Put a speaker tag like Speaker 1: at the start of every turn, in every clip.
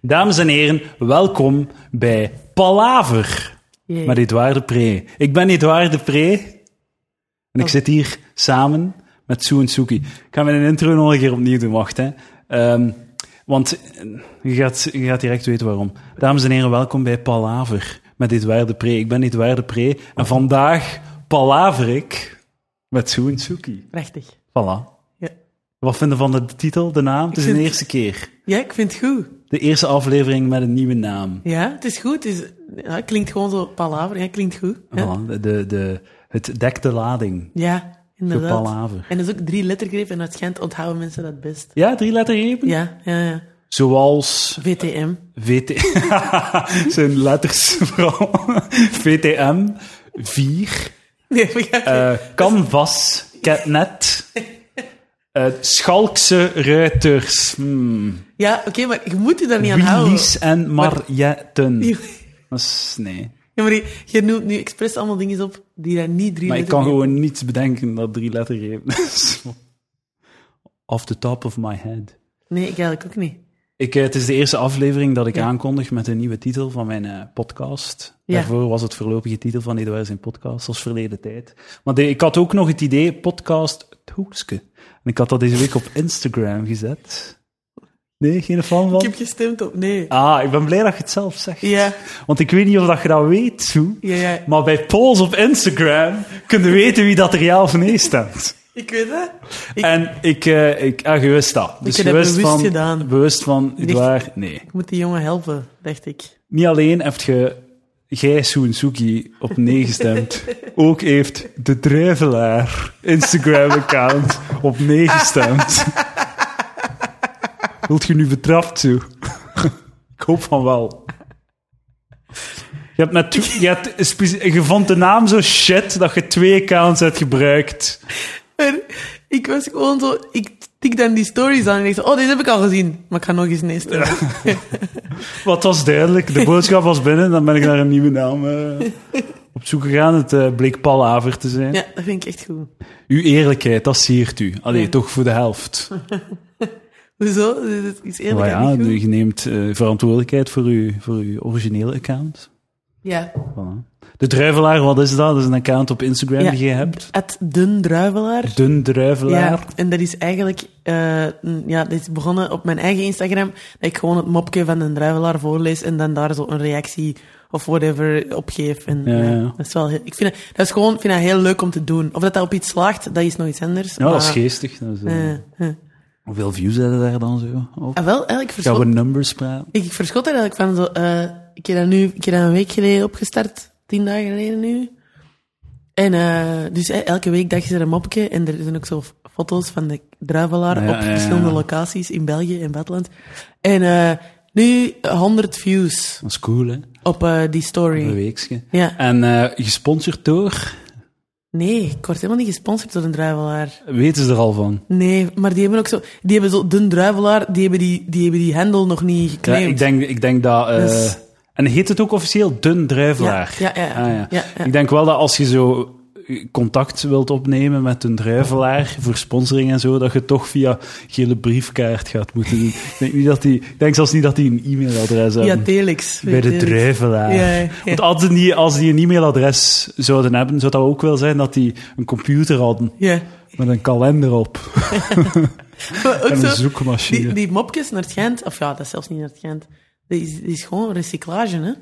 Speaker 1: Dames en heren, welkom bij Palaver.
Speaker 2: Jee.
Speaker 1: Met Edouard de Pre. Ik ben Edouard de Pre. En ik
Speaker 2: Oh.
Speaker 1: zit hier samen met Sue en Suki. Ik ga mijn intro nog een keer opnieuw doen, wacht. Hè. Ehm, want eh, je gaat, je gaat direct weten waarom. Dames en heren, welkom bij Palaver. Met Edouard de Pre. Ik ben Edouard de Pre.
Speaker 2: Oh.
Speaker 1: En vandaag palaver ik met Sue en Suki.
Speaker 2: Prachtig.
Speaker 1: Voilà.
Speaker 2: Ja.
Speaker 1: Wat vinden we van de titel, de naam? Het is
Speaker 2: Ik
Speaker 1: de
Speaker 2: vind-
Speaker 1: eerste keer.
Speaker 2: Ja, ik vind het goed.
Speaker 1: De eerste aflevering met een nieuwe naam.
Speaker 2: Ja, het is goed. Het, is, ja, het klinkt gewoon zo palaver. Ja, het klinkt goed. Ja,
Speaker 1: Voilà, de, de, de, het dekt de lading.
Speaker 2: ja
Speaker 1: De
Speaker 2: inderdaad.
Speaker 1: palaver.
Speaker 2: En dat is ook drie lettergrepen en waarschijnlijk onthouden mensen dat best.
Speaker 1: Ja, drie lettergrepen?
Speaker 2: Ja, ja, ja.
Speaker 1: Zoals
Speaker 2: VTM.
Speaker 1: VT... zijn letters vooral. VTM, vier,
Speaker 2: Nee, maar ja,
Speaker 1: eh, canvas, catnet, eh, Schalkse ruiters, hmm,
Speaker 2: ja oké, maar je moet je daar niet aan houden.
Speaker 1: Willies en Marjetten.
Speaker 2: Ja,
Speaker 1: Dat is- nee.
Speaker 2: maar je, je noemt nu expres allemaal dingen op die daar niet drie
Speaker 1: Maar ik kan
Speaker 2: lettergrepen-
Speaker 1: gewoon niets bedenken dat drie lettergrepen is. Off the top of my head.
Speaker 2: Nee, ik eigenlijk ook niet.
Speaker 1: Ik, eh, het is de eerste aflevering dat ik
Speaker 2: Ja.
Speaker 1: aankondig met een nieuwe titel van mijn eh, podcast.
Speaker 2: Ja.
Speaker 1: Daarvoor was het voorlopige titel van Eduard zijn podcast, als verleden tijd. Maar de- ik had ook nog het idee, podcast Het Hoekske. En ik had dat deze week op Instagram gezet. Nee, geen fan van?
Speaker 2: Ik heb gestemd op nee.
Speaker 1: Ah, ik ben blij dat je het zelf zegt.
Speaker 2: Ja,
Speaker 1: Want ik weet niet of dat je dat weet, Soe.
Speaker 2: ja, ja.
Speaker 1: Maar bij polls op Instagram kunnen weten wie dat er ja of nee stemt.
Speaker 2: Ik weet dat. Ik-
Speaker 1: En ik, eh ik ah, je wist dat. Dus
Speaker 2: heb
Speaker 1: je
Speaker 2: dat
Speaker 1: wist
Speaker 2: bewust
Speaker 1: van,
Speaker 2: gedaan.
Speaker 1: bewust van, Eduard, nee.
Speaker 2: Ik moet die jongen helpen, dacht ik.
Speaker 1: Niet alleen heeft je jij, Soen Suki, op nee gestemd. Ook heeft de Druivelaar Instagram-account op nee gestemd. Wilt je nu betrapt, toe? Ik hoop van wel. Je, hebt natu- je, hebt speci- je vond de naam zo shit dat je twee accounts hebt gebruikt.
Speaker 2: Maar ik was gewoon zo... Ik tik dan die stories aan en ik dacht, oh, deze heb ik al gezien. Maar ik ga nog eens nee stemmen.
Speaker 1: Wat was duidelijk, de boodschap was binnen. Dan ben ik naar een nieuwe naam eh, op zoek gegaan. Het eh, bleek Palaver te zijn.
Speaker 2: Ja, dat vind ik echt goed.
Speaker 1: Uw eerlijkheid, dat siert u. Allee, toch voor de helft.
Speaker 2: Hoezo? Is het iets eerlijk
Speaker 1: Maar
Speaker 2: en
Speaker 1: ja,
Speaker 2: niet goed?
Speaker 1: u neemt eh, verantwoordelijkheid voor uw, voor uw originele account.
Speaker 2: Ja.
Speaker 1: Voilà. De Druivelaar, wat is dat? Dat is een account op Instagram
Speaker 2: Ja.
Speaker 1: die je hebt.
Speaker 2: Het Den Druivelaar.
Speaker 1: Dun Druivelaar.
Speaker 2: Ja, en dat is eigenlijk... eh, mm, ja, dit is begonnen op mijn eigen Instagram. Dat ik gewoon het mopje van Den Druivelaar voorlees en dan daar zo een reactie of whatever op geef. En,
Speaker 1: Ja, ja.
Speaker 2: ja, dat is wel... heel- Ik vind dat, dat is gewoon, ik vind dat heel leuk om te doen. Of dat dat op iets slaagt, dat is nog iets anders.
Speaker 1: Ja, dat is
Speaker 2: maar-
Speaker 1: geestig. Dat is, eh,
Speaker 2: eh, eh.
Speaker 1: Hoeveel views hebben daar dan zo? op?
Speaker 2: Ah, wel, eigenlijk verschot,
Speaker 1: Gaan we numbers praten?
Speaker 2: ik, ik verschot er eigenlijk van zo... eh, ik heb dat nu ik heb dat een week geleden opgestart. Tien dagen geleden nu. En eh, dus eh, elke weekdag is er een mopje. En er zijn ook zo f- foto's van de druivelaar
Speaker 1: Ja,
Speaker 2: op
Speaker 1: ja, ja.
Speaker 2: verschillende locaties in België en buitenland. En eh, nu 100 views
Speaker 1: Dat is cool, hè?
Speaker 2: op eh, die
Speaker 1: Een
Speaker 2: story.
Speaker 1: weekje.
Speaker 2: Ja.
Speaker 1: En eh, gesponsord door?
Speaker 2: Nee, ik word helemaal niet gesponsord door een druivelaar.
Speaker 1: Weten ze er al van?
Speaker 2: Nee, maar die hebben ook zo... Die hebben zo... De druivelaar, die hebben die, die, hebben die handel nog niet
Speaker 1: Ja,
Speaker 2: geclaimd.
Speaker 1: ik denk, ik denk dat... eh,
Speaker 2: Dus-
Speaker 1: En heet het ook officieel Dun Druivelaar?
Speaker 2: Ja, ja, ja.
Speaker 1: Ah, ja.
Speaker 2: Ja, ja.
Speaker 1: Ik denk wel dat als je zo contact wilt opnemen met een druivelaar voor sponsoring en zo, dat je toch via gele briefkaart gaat moeten doen. Ik denk, niet dat die, ik denk zelfs niet dat die een e-mailadres
Speaker 2: Ja,
Speaker 1: hebben.
Speaker 2: Telex.
Speaker 1: bij de
Speaker 2: Telex.
Speaker 1: druivelaar.
Speaker 2: Ja, ja, ja.
Speaker 1: Want als die, als die een e-mailadres zouden hebben, zou dat ook wel zijn dat die een computer hadden
Speaker 2: Ja.
Speaker 1: met een kalender op
Speaker 2: Maar ook
Speaker 1: en een
Speaker 2: zo,
Speaker 1: zoekmachine.
Speaker 2: die, die mopjes naar het Gent, of ja, dat is zelfs niet naar het Gent, dat is, die is gewoon recyclage, hè.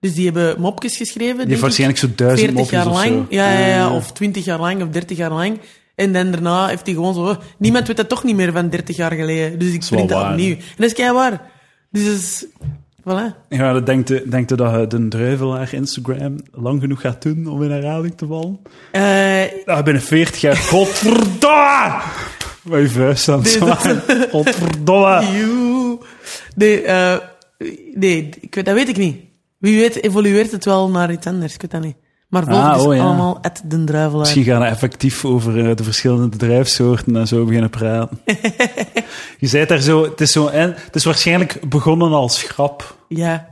Speaker 2: Dus die hebben mopjes geschreven,
Speaker 1: die
Speaker 2: denk
Speaker 1: heeft
Speaker 2: ik,
Speaker 1: waarschijnlijk zo duizend
Speaker 2: 40
Speaker 1: mopjes
Speaker 2: jaar
Speaker 1: of
Speaker 2: lang.
Speaker 1: zo.
Speaker 2: Ja, ja, ja, of 20 jaar lang, of 30 jaar lang. En dan daarna heeft hij gewoon zo... oh, Niemand weet dat toch niet meer van 30 jaar geleden. Dus ik
Speaker 1: wel
Speaker 2: print dat
Speaker 1: waar,
Speaker 2: opnieuw. En dat is waar. Dus dat is... Voilà.
Speaker 1: Ja, dat denkt u, denkt u dat je de druivelaar Instagram lang genoeg gaat doen om in herhaling te vallen?
Speaker 2: Eh,
Speaker 1: Ah, ik ben een 40 jaar. Godverdomme! Mijn vuist aan het
Speaker 2: Nee, dat-
Speaker 1: zwaaien. Godverdomme.
Speaker 2: Joe. Nee, eh, nee ik weet, dat weet ik niet. Wie weet evolueert het wel naar iets anders, ik weet dat niet. Maar volgens
Speaker 1: Ah,
Speaker 2: is
Speaker 1: oh ja.
Speaker 2: allemaal at den druivelaar.
Speaker 1: Misschien gaan we effectief over eh, de verschillende bedrijfssoorten en zo beginnen praten. Je zei daar zo, het is, zo en, het is waarschijnlijk begonnen als grap.
Speaker 2: Ja,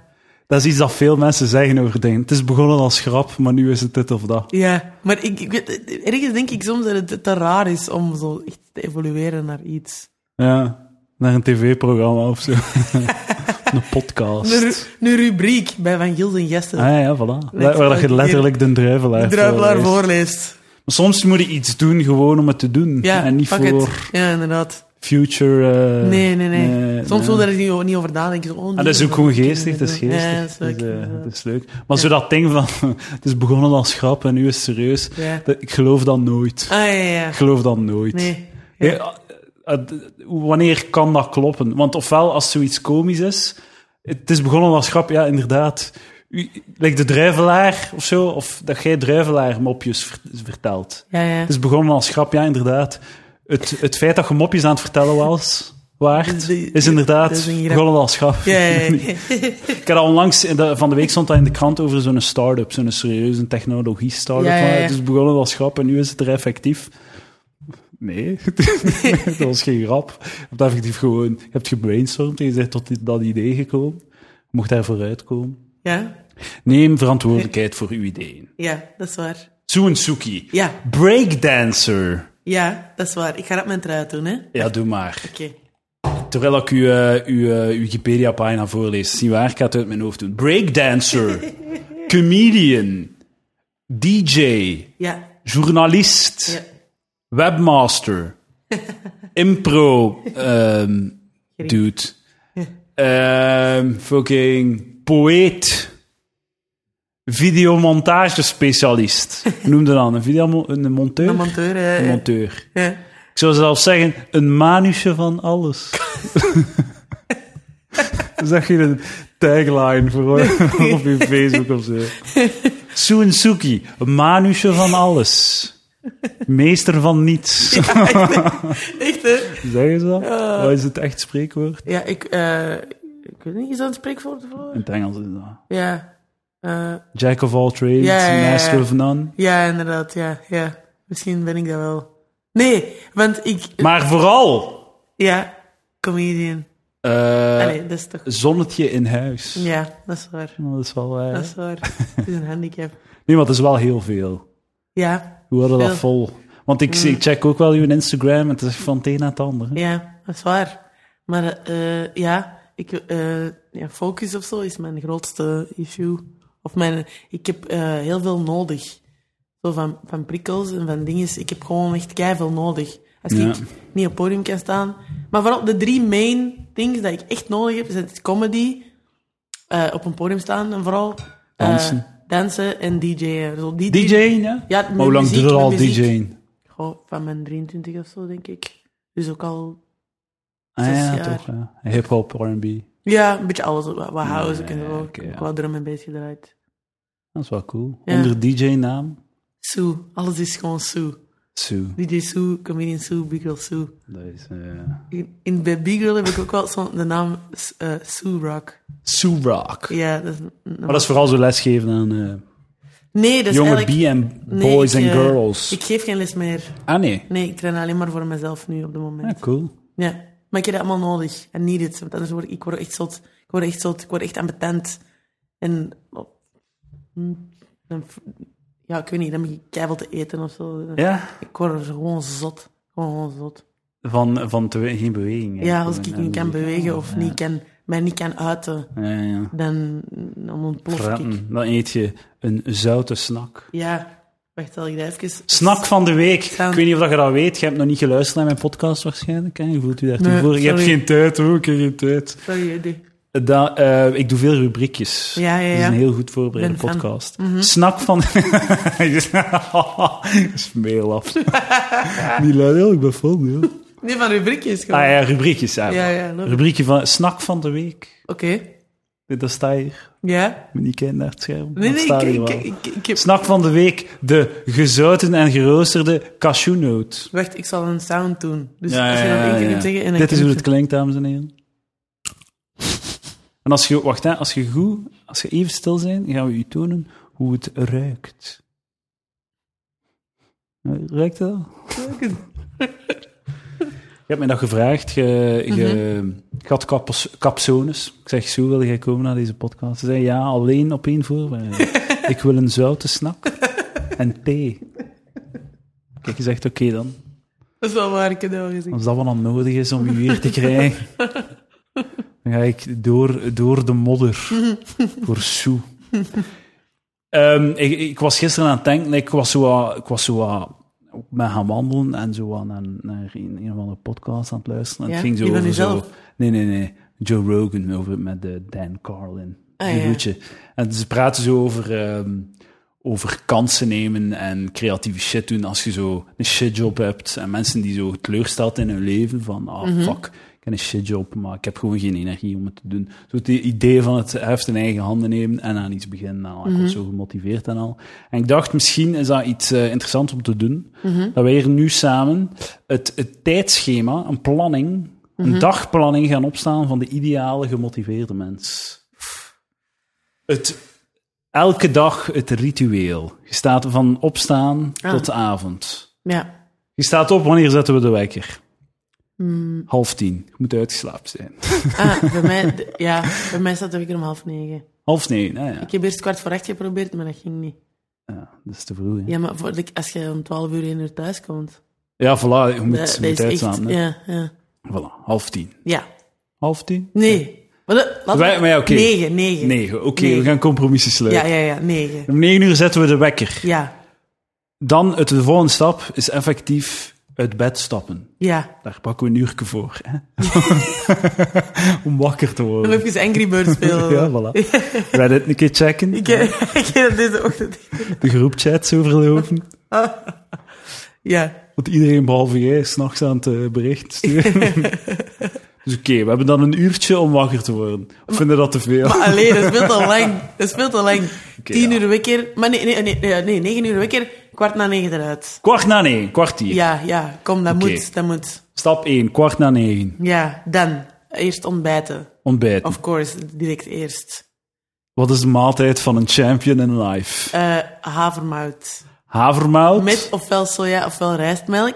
Speaker 1: Dat is iets dat veel mensen zeggen over dingen. Het is begonnen als grap, maar nu is het dit of dat.
Speaker 2: ja. Maar ik, ik weet, ergens denk ik soms dat het te raar is om zo echt te evolueren naar iets.
Speaker 1: Ja, naar een tv-programma of zo. Een podcast.
Speaker 2: Een, ru- een rubriek bij Van Gils en Gesten.
Speaker 1: Ah ja, voilà.
Speaker 2: Nee,
Speaker 1: Waar, waar dat
Speaker 2: elke
Speaker 1: je
Speaker 2: keer
Speaker 1: letterlijk de druivelaar,
Speaker 2: Druivelaar
Speaker 1: voorleest.
Speaker 2: voorleest.
Speaker 1: Maar soms moet je iets doen gewoon om het te doen.
Speaker 2: Ja,
Speaker 1: en niet
Speaker 2: pak
Speaker 1: voor
Speaker 2: het. Ja, inderdaad.
Speaker 1: future... eh,
Speaker 2: Nee, nee, nee. Soms wil
Speaker 1: nee.
Speaker 2: je er niet o- niet over nadenken. Zo, Oh,
Speaker 1: Ah,
Speaker 2: nee,
Speaker 1: dat is ook
Speaker 2: nee,
Speaker 1: gewoon
Speaker 2: nee,
Speaker 1: geestig, dat is
Speaker 2: nee,
Speaker 1: geestig.
Speaker 2: Ja, dat is leuk.
Speaker 1: Dat is, eh,
Speaker 2: inderdaad.
Speaker 1: dat is leuk. Maar zo dat ding van, het is begonnen als grap en nu is het serieus.
Speaker 2: Ja.
Speaker 1: Dat- Ik geloof dat nooit.
Speaker 2: Ah, ja, ja. ja.
Speaker 1: Ik geloof dat nooit.
Speaker 2: Nee.
Speaker 1: Ja, eh, eh, wanneer kan dat kloppen? Want ofwel als zoiets komisch is, het is begonnen als grap, ja, inderdaad. U, like de druivelaar of zo, of dat jij druivelaar mopjes ver- vertelt.
Speaker 2: Ja, ja.
Speaker 1: Het is begonnen als grap, ja, inderdaad. Het, het feit dat je mopjes aan het vertellen was, waard,
Speaker 2: Die-
Speaker 1: is inderdaad
Speaker 2: dat is een grap.
Speaker 1: begonnen als grap.
Speaker 2: Ja, ja, ja.
Speaker 1: Ik had al onlangs, in de- van de week stond dat in de krant over zo'n start-up, zo'n serieuze technologie-start-up.
Speaker 2: Ja, ja,
Speaker 1: Van,
Speaker 2: ja.
Speaker 1: Het is begonnen als grap en nu is het er effectief. Nee, dat was geen grap. Je hebt effectief gewoon, je hebt gebrainstormd en je bent tot dit- dat idee gekomen. Je mocht daar vooruit komen.
Speaker 2: Ja,
Speaker 1: Neem verantwoordelijkheid voor uw ideeën.
Speaker 2: ja, dat is waar.
Speaker 1: Tsuensuki,
Speaker 2: Ja,
Speaker 1: breakdancer.
Speaker 2: ja, dat is waar. Ik ga dat mijn trui doen, hè. Oké.
Speaker 1: Ja, doe maar. Terwijl ik uw, eh, uw eh, Wikipedia-pagina voorlees, zie waar ik ga het uit mijn hoofd doen. Breakdancer, comedian, DJ,
Speaker 2: Ja,
Speaker 1: journalist,
Speaker 2: ja.
Speaker 1: webmaster, impro ehm, dude, Ehm, fucking poëet, videomontagespecialist. Noemde dan een, videomo- een monteur?
Speaker 2: Een monteur, hè.
Speaker 1: Een monteur.
Speaker 2: Eh, Ja.
Speaker 1: Ik zou zelfs zeggen, een manusje van alles. Zag je een tagline voor op je Facebook of zo? Suensuki, een manusje van alles. Meester van niets.
Speaker 2: Echt, hè.
Speaker 1: Zeggen ze dat?
Speaker 2: Eh.
Speaker 1: Wat is het echt spreekwoord?
Speaker 2: Ja, ik, eh ik weet niet, is dat een spreekwoord voor?
Speaker 1: In het Engels is dat.
Speaker 2: Ja. Eh,
Speaker 1: Jack of all trades,
Speaker 2: Ja, ja, ja, ja.
Speaker 1: master of none.
Speaker 2: ja, inderdaad, ja, ja. Misschien ben ik dat wel. Nee, want ik...
Speaker 1: Maar vooral,
Speaker 2: Ja, comedian.
Speaker 1: eh,
Speaker 2: Allee, dat is toch...
Speaker 1: zonnetje in huis.
Speaker 2: Ja, dat is waar.
Speaker 1: Dat is wel waar, hè?
Speaker 2: Dat is waar. Het is een handicap.
Speaker 1: Nee, maar het is wel heel veel.
Speaker 2: Ja,
Speaker 1: Hoe hadden dat
Speaker 2: Veel. Mm.
Speaker 1: vol? Want ik, ik check ook wel uw Instagram en het is van het een naar het ander. hè.
Speaker 2: ja, dat is waar. Maar eh, eh, ja, ik, eh, ja, focus of zo is mijn grootste issue. Of mijn, ik heb eh, heel veel nodig. Zo van, van prikkels en van dingen. Ik heb gewoon echt veel nodig. Als
Speaker 1: Ja.
Speaker 2: ik niet op het podium kan staan. Maar vooral de drie main things dat ik echt nodig heb, zijn comedy, eh, op een podium staan en vooral... eh,
Speaker 1: Dansen.
Speaker 2: dansen en DJ'en. Zo die drie-
Speaker 1: DJ, ja?
Speaker 2: Ja, met
Speaker 1: maar hoe lang
Speaker 2: muziek,
Speaker 1: duurt er
Speaker 2: met
Speaker 1: al
Speaker 2: muziek.
Speaker 1: DJ'en?
Speaker 2: Goh, van mijn 23 of zo, denk ik. Dus ook al...
Speaker 1: Ah
Speaker 2: Zes
Speaker 1: ja,
Speaker 2: jaar.
Speaker 1: toch. Ja. Hip-hop, R&B.
Speaker 2: Ja, een beetje alles. Wat, wat house ik en
Speaker 1: ja,
Speaker 2: zo.
Speaker 1: oké,
Speaker 2: Ik heb
Speaker 1: ja.
Speaker 2: wel drum en bass gedraaid.
Speaker 1: Dat is wel cool.
Speaker 2: Ja.
Speaker 1: Onder DJ-naam?
Speaker 2: Sue. Alles is gewoon Sue.
Speaker 1: Sue.
Speaker 2: DJ Sue, comedian Sue, Big Girl Sue.
Speaker 1: Dat is... eh,
Speaker 2: In, in, bij Big Girl heb ik ook wel zo'n- de naam eh, Sue Rock.
Speaker 1: Sue Rock.
Speaker 2: Ja, dat is... een- een-
Speaker 1: Maar dat is vooral zo lesgeven aan eh,
Speaker 2: nee, dat is
Speaker 1: jonge
Speaker 2: eigenlijk...
Speaker 1: B&Boys
Speaker 2: nee,
Speaker 1: boys
Speaker 2: ik,
Speaker 1: en
Speaker 2: eh,
Speaker 1: girls.
Speaker 2: Ik geef geen les meer.
Speaker 1: ah nee.
Speaker 2: Nee, ik train alleen maar voor mezelf nu op dit moment.
Speaker 1: Ja, cool.
Speaker 2: Ja, maar ik heb dat allemaal nodig. En niet dit, want anders word ik, ik word echt zot. Ik word echt zot, ik word echt ambetant. En oh, hmm, dan v- ja, ik weet niet, dan begin ik keihard te eten of zo.
Speaker 1: Ja?
Speaker 2: Ik word er gewoon zot. Gewoon, gewoon zot.
Speaker 1: Van, van te- geen beweging. hè.
Speaker 2: Ja, als ik
Speaker 1: Gewoon,
Speaker 2: niet
Speaker 1: eh,
Speaker 2: kan bewegen of
Speaker 1: ja.
Speaker 2: niet kan, mij niet kan uiten,
Speaker 1: Ja, ja, ja.
Speaker 2: dan, dan ontplof ik.
Speaker 1: Fretten. Dan eet je een zoute snack.
Speaker 2: Ja, wacht, zal ik dat even...
Speaker 1: Snack van de week.
Speaker 2: Gaan-
Speaker 1: Ik weet niet of dat je dat weet. Je hebt nog niet geluisterd naar mijn podcast waarschijnlijk. Hè? Je voelt u daar toe
Speaker 2: Nee,
Speaker 1: voor. Je hebt
Speaker 2: sorry.
Speaker 1: geen tijd hoor, ik heb geen tijd.
Speaker 2: Sorry, jullie.
Speaker 1: Da- eh, ik doe veel rubriekjes.
Speaker 2: Ja, ja,
Speaker 1: Dat is
Speaker 2: ja.
Speaker 1: een heel goed voorbereide
Speaker 2: Ben fan. Mhm.
Speaker 1: podcast. Snack van... Smeerlap. niet luid, joh, ik ben vol. joh.
Speaker 2: Nee, van rubriekjes gewoon.
Speaker 1: Ah ja, rubriekjes. Ja,
Speaker 2: Ja, ja, leuk.
Speaker 1: Rubriekje van snack van de week.
Speaker 2: Oké,
Speaker 1: Dit, Dat staat hier.
Speaker 2: ja.
Speaker 1: Moet niet kijken naar het scherm.
Speaker 2: Nee,
Speaker 1: Dat
Speaker 2: nee,
Speaker 1: staat hier
Speaker 2: ik,
Speaker 1: wel.
Speaker 2: ik, ik, ik, ik heb...
Speaker 1: Snack van de week, de gezouten en geroosterde cashewnoot.
Speaker 2: Wacht, ik zal een sound doen. Dus als je dat één keer kunt zeggen... En dan
Speaker 1: Dit is
Speaker 2: kun
Speaker 1: hoe
Speaker 2: je-
Speaker 1: het klinkt, dames en heren. En als je, wacht, hè, als je goed, als je even stil bent, gaan we u tonen hoe het ruikt. Ruikt dat? Je hebt mij dat gevraagd. Je, je,
Speaker 2: Mhm.
Speaker 1: je had kapos- capsones. Ik zeg, zo wil jij komen naar deze podcast? Ze zei, ja, alleen op één voorwaarde. ik wil een zoute snack en thee. Kijk, je zegt, oké dan.
Speaker 2: Dat is wel waar, ik heb dat wel gezien.
Speaker 1: Als dat wat dan nodig is om u hier te krijgen. Dan ga ik door, door de modder voor Sue. Ehm, ik, ik was gisteren aan het denken, ik was zo, wat- ik was zo wat ook met gaan wandelen en zo wat naar, naar een, een of andere podcast aan het luisteren. En
Speaker 2: Ja,
Speaker 1: het ging zo
Speaker 2: die van
Speaker 1: over zo,
Speaker 2: uzelf?
Speaker 1: nee, nee, nee, Joe Rogan over met eh, Dan Carlin.
Speaker 2: Ah,
Speaker 1: die
Speaker 2: ja.
Speaker 1: roetje. En ze praten zo over, ehm, over kansen nemen en creatieve shit doen als je zo een shitjob hebt. En mensen die zo teleursteld in hun leven van, ah, fuck, ik heb een shitjob, maar ik heb gewoon geen energie om het te doen. Zo het idee van het heft in eigen handen nemen en aan iets beginnen. En al. Ik was zo gemotiveerd en al. En ik dacht, misschien is dat iets eh, interessants om te doen. Dat wij hier nu samen het, het tijdschema, een planning, een dagplanning gaan opstaan van de ideale gemotiveerde mens. Het, elke dag het ritueel. Je staat van opstaan
Speaker 2: Ah.
Speaker 1: tot avond.
Speaker 2: Ja.
Speaker 1: Je staat op, wanneer zetten we de wekker?
Speaker 2: Hmm.
Speaker 1: Half tien. Je moet uitgeslapen zijn.
Speaker 2: Ah, bij mij, d- ja, bij mij staat de wekker om half negen.
Speaker 1: Half negen, nou ja.
Speaker 2: Ik heb eerst kwart voor acht geprobeerd, maar dat ging niet.
Speaker 1: ja. Dat is te vroeg, hè. Ja,
Speaker 2: Ja, maar voor, de- als je om twaalf uur één uur thuis
Speaker 1: voilà,
Speaker 2: komt,
Speaker 1: je moet,
Speaker 2: dat, dat
Speaker 1: moet
Speaker 2: is echt...
Speaker 1: uitslaan. hè.
Speaker 2: Ja, ja.
Speaker 1: Voilà, half tien.
Speaker 2: ja,
Speaker 1: Half tien?
Speaker 2: nee. Maar dat, laten
Speaker 1: Wij-
Speaker 2: we-
Speaker 1: maar ja, oké.
Speaker 2: Negen, negen.
Speaker 1: Negen, oké,
Speaker 2: Negen.
Speaker 1: we gaan compromissen sluiten.
Speaker 2: Ja, ja, ja, negen.
Speaker 1: Om negen uur zetten we de wekker.
Speaker 2: Ja,
Speaker 1: Dan, het, de volgende stap is effectief uit bed stappen.
Speaker 2: ja.
Speaker 1: Daar pakken we een uurtje voor, hè. Om wakker te
Speaker 2: Dan
Speaker 1: worden.
Speaker 2: heb ik eens Angry Birds spelen.
Speaker 1: Ja, voilà. Reddit een keer checken.
Speaker 2: Ik heb, ik heb dat deze ochtend...
Speaker 1: De groepchats overlopen.
Speaker 2: Ja,
Speaker 1: Want iedereen behalve jij is 's nachts aan het eh, bericht sturen. dus oké, we hebben dan een uurtje om wakker te worden. Of vinden we dat te veel?
Speaker 2: maar alleen, dat speelt al lang. Dat speelt al lang. Tien
Speaker 1: ja.
Speaker 2: uur wekker... Maar nee, nee, nee, nee, nee, negen uur wekker, kwart na negen eruit.
Speaker 1: Kwart na negen, kwartier.
Speaker 2: Ja, ja, kom, dat
Speaker 1: Oké.
Speaker 2: moet, dat moet.
Speaker 1: Stap 1, kwart na negen.
Speaker 2: Ja, dan. Eerst ontbijten.
Speaker 1: Ontbijt.
Speaker 2: Of course, direct eerst.
Speaker 1: Wat is de maaltijd van een champion in life?
Speaker 2: Eh havermout.
Speaker 1: Havermout.
Speaker 2: Met ofwel soja ofwel rijstmelk.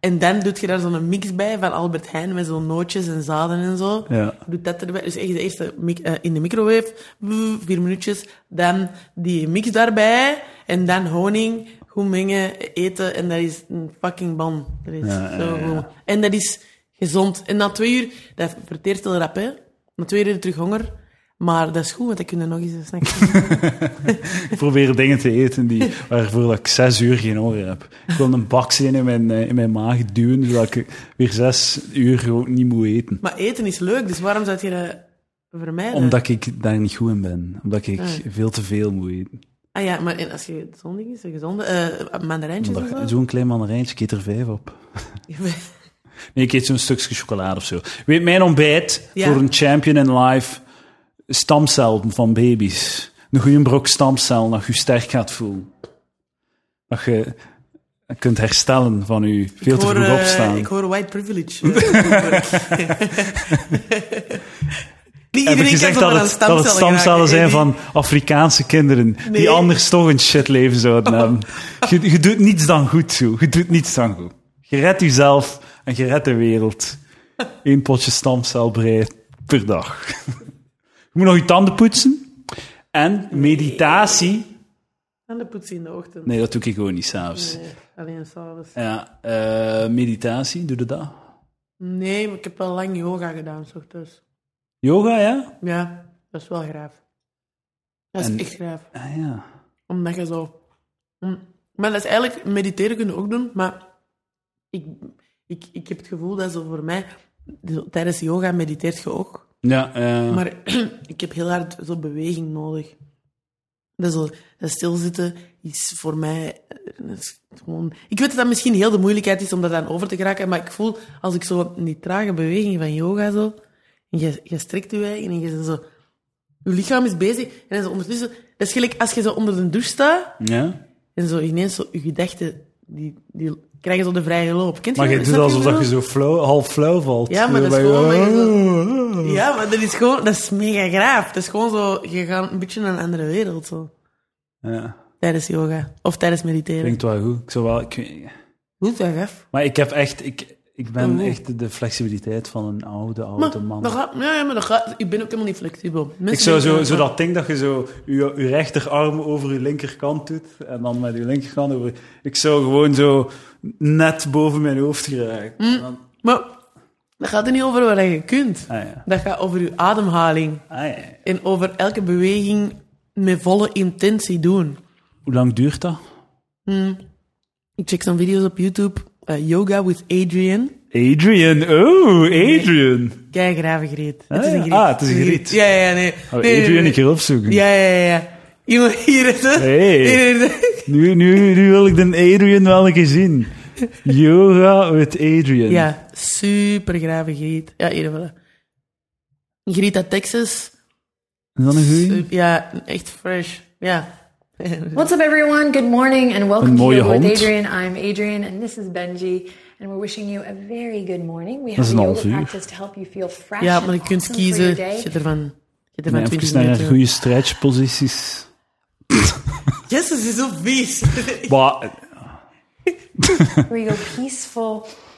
Speaker 2: En dan doe je daar zo'n mix bij van Albert Heijn met zo'n nootjes en zaden en zo.
Speaker 1: Ja.
Speaker 2: Doe dat erbij. Dus echt eerst de mic- eh, in de microwave, Wuh, vier minuutjes. Dan die mix daarbij. En dan honing, goed mengen, eten. En dat is een fucking ban. Dat is
Speaker 1: Ja,
Speaker 2: zo
Speaker 1: ja,
Speaker 2: goed. En dat is gezond. En na twee uur, dat verteert heel rap, hè. Na twee uur heb je terug honger. Maar dat is goed, want dan kun je nog eens een snack
Speaker 1: Ik probeer dingen te eten die, waarvoor dat ik zes uur geen honger heb. Ik wil een bak zien in mijn, eh, in mijn maag duwen, zodat ik weer zes uur gewoon niet moet eten.
Speaker 2: Maar eten is leuk, dus waarom zou je dat vermijden?
Speaker 1: Omdat ik daar niet goed in ben. Omdat ik veel te veel moet eten.
Speaker 2: Ah ja, maar en als je gezond is, gezonde eh mandarijntjes
Speaker 1: Omdat-
Speaker 2: of zo?
Speaker 1: Zo'n klein mandarijntje, ik eet er vijf op. Nee, ik eet zo'n stukje chocolade of zo. Weet, mijn ontbijt
Speaker 2: Ja.
Speaker 1: voor een champion in life, stamcel van baby's. Een goede brok stamcel, dat je je sterk gaat voelen. Dat je kunt herstellen van je veel te
Speaker 2: Ik hoor,
Speaker 1: vroeg
Speaker 2: eh,
Speaker 1: opstaan.
Speaker 2: ik hoor white privilege. eh, Niet
Speaker 1: Heb ik
Speaker 2: iedereen kan
Speaker 1: gezegd
Speaker 2: zo
Speaker 1: dat
Speaker 2: aan
Speaker 1: het, dat het
Speaker 2: stamcellen
Speaker 1: stamcellen
Speaker 2: geraken.
Speaker 1: zijn
Speaker 2: Nee,
Speaker 1: van Afrikaanse kinderen,
Speaker 2: Nee. Oh.
Speaker 1: die anders toch een shitleven zouden hebben. Je, je doet niets dan goed, zo. Je doet niets dan goed. Je redt jezelf en je redt de wereld. Eén potje stamcel breed per dag. Je moet nog je tanden poetsen. En meditatie...
Speaker 2: Aan de poetsen in de ochtend.
Speaker 1: Nee, dat doe ik gewoon niet s'avonds.
Speaker 2: Nee, alleen s'avonds.
Speaker 1: Ja, eh, meditatie, doe je dat?
Speaker 2: Nee, maar ik heb wel lang yoga gedaan, s ochtends.
Speaker 1: Yoga, ja?
Speaker 2: Ja, dat is wel graaf. Dat is
Speaker 1: En-
Speaker 2: echt graaf.
Speaker 1: Ah, ja.
Speaker 2: Omdat je zo... Mm. Maar dat is eigenlijk... Mediteren kunnen ook doen, maar... Ik, ik, ik heb het gevoel dat zo voor mij... zo Tijdens yoga mediteert je ook.
Speaker 1: Ja, eh,
Speaker 2: Maar ik heb heel hard zo beweging nodig. Dat, zo, dat stilzitten is voor mij... eh, dat is gewoon, ik weet dat dat misschien heel de moeilijkheid is om dat aan over te geraken, maar ik voel, als ik zo in die trage beweging van yoga zo... En je, je strekt je eigen en je bent zo... Je lichaam is bezig en dan zo ondertussen... Dat is gelijk als je zo onder de douche staat...
Speaker 1: ja.
Speaker 2: En zo ineens, zo, je gedachten, die, die krijgen zo de vrije loop. Kent
Speaker 1: Maar je
Speaker 2: dat?
Speaker 1: doet
Speaker 2: Snap wat
Speaker 1: alsof
Speaker 2: ik
Speaker 1: dat je
Speaker 2: bedoel?
Speaker 1: zo flauw, half flauw valt.
Speaker 2: Ja, maar dat is
Speaker 1: Bij-
Speaker 2: gewoon dat je Ja, maar dat is gewoon, dat is mega graaf. Dat is gewoon zo, je gaat een beetje naar een andere wereld, zo.
Speaker 1: Ja,
Speaker 2: Tijdens yoga. Of tijdens mediteren.
Speaker 1: klinkt wel goed. Ik zou wel, ik weet-
Speaker 2: Goed, dat gaf.
Speaker 1: maar ik heb echt, ik, ik ben
Speaker 2: Oh.
Speaker 1: echt de flexibiliteit van een oude,
Speaker 2: Maar,
Speaker 1: oude man.
Speaker 2: dat gaat, ja, ja, maar dat gaat, ik ben ook helemaal niet flexibel. Mensen
Speaker 1: Ik zou zo,
Speaker 2: denken
Speaker 1: zo dat ding dat je zo je, je rechterarm over je linkerkant doet en dan met je linkerkant over.
Speaker 2: Mm.
Speaker 1: Ik zou gewoon zo net boven mijn hoofd geraken. En dan-
Speaker 2: Maar Dat gaat er niet over wat je kunt.
Speaker 1: Ah ja.
Speaker 2: Dat gaat over je ademhaling.
Speaker 1: Ah, ja.
Speaker 2: En over elke beweging met volle intentie doen.
Speaker 1: Hoe lang duurt dat?
Speaker 2: Ik check zo'n video's op YouTube. eh, yoga with Adrian.
Speaker 1: Adrian. Oh, Adrian.
Speaker 2: Kijk, gravengereed.
Speaker 1: Ah,
Speaker 2: het is
Speaker 1: ja.
Speaker 2: een griet.
Speaker 1: Ah, het is een griet. Oh,
Speaker 2: Ja, ja, nee.
Speaker 1: Gaan we
Speaker 2: Nee, nee,
Speaker 1: Adrian
Speaker 2: nee.
Speaker 1: een keer opzoeken.
Speaker 2: Ja, ja, ja, ja. Iemand hier is het.
Speaker 1: Hey.
Speaker 2: Hier is het.
Speaker 1: Nu, nu, nu wil ik de Adrian wel een keer zien. Yoga with Adrian.
Speaker 2: Ja, super grave griet. Ja, hier wel. Griet uit Texas.
Speaker 1: Is dat een goeie?
Speaker 2: Sup- Ja, echt fresh. Ja.
Speaker 3: What's up, everyone? Good morning and welcome
Speaker 1: Een
Speaker 3: to
Speaker 1: mooie
Speaker 3: Yoga with
Speaker 1: hond.
Speaker 3: Adrian. I'm Adrian and this is Benji. And we're wishing you a very good morning. We
Speaker 1: Dat is
Speaker 3: have a
Speaker 1: een
Speaker 3: yoga
Speaker 1: half uur.
Speaker 3: practice to help you feel fresh
Speaker 2: Ja,
Speaker 3: and
Speaker 2: maar je kunt
Speaker 3: awesome for
Speaker 2: kiezen.
Speaker 3: your
Speaker 2: Je
Speaker 3: day.
Speaker 2: hebt ervan, je hebt ervan
Speaker 1: Nee,
Speaker 2: 20
Speaker 1: even naar
Speaker 2: minuten.
Speaker 1: goede stretchposities.
Speaker 2: Yes, het is zo vies.
Speaker 1: Maar
Speaker 3: Where you go peaceful.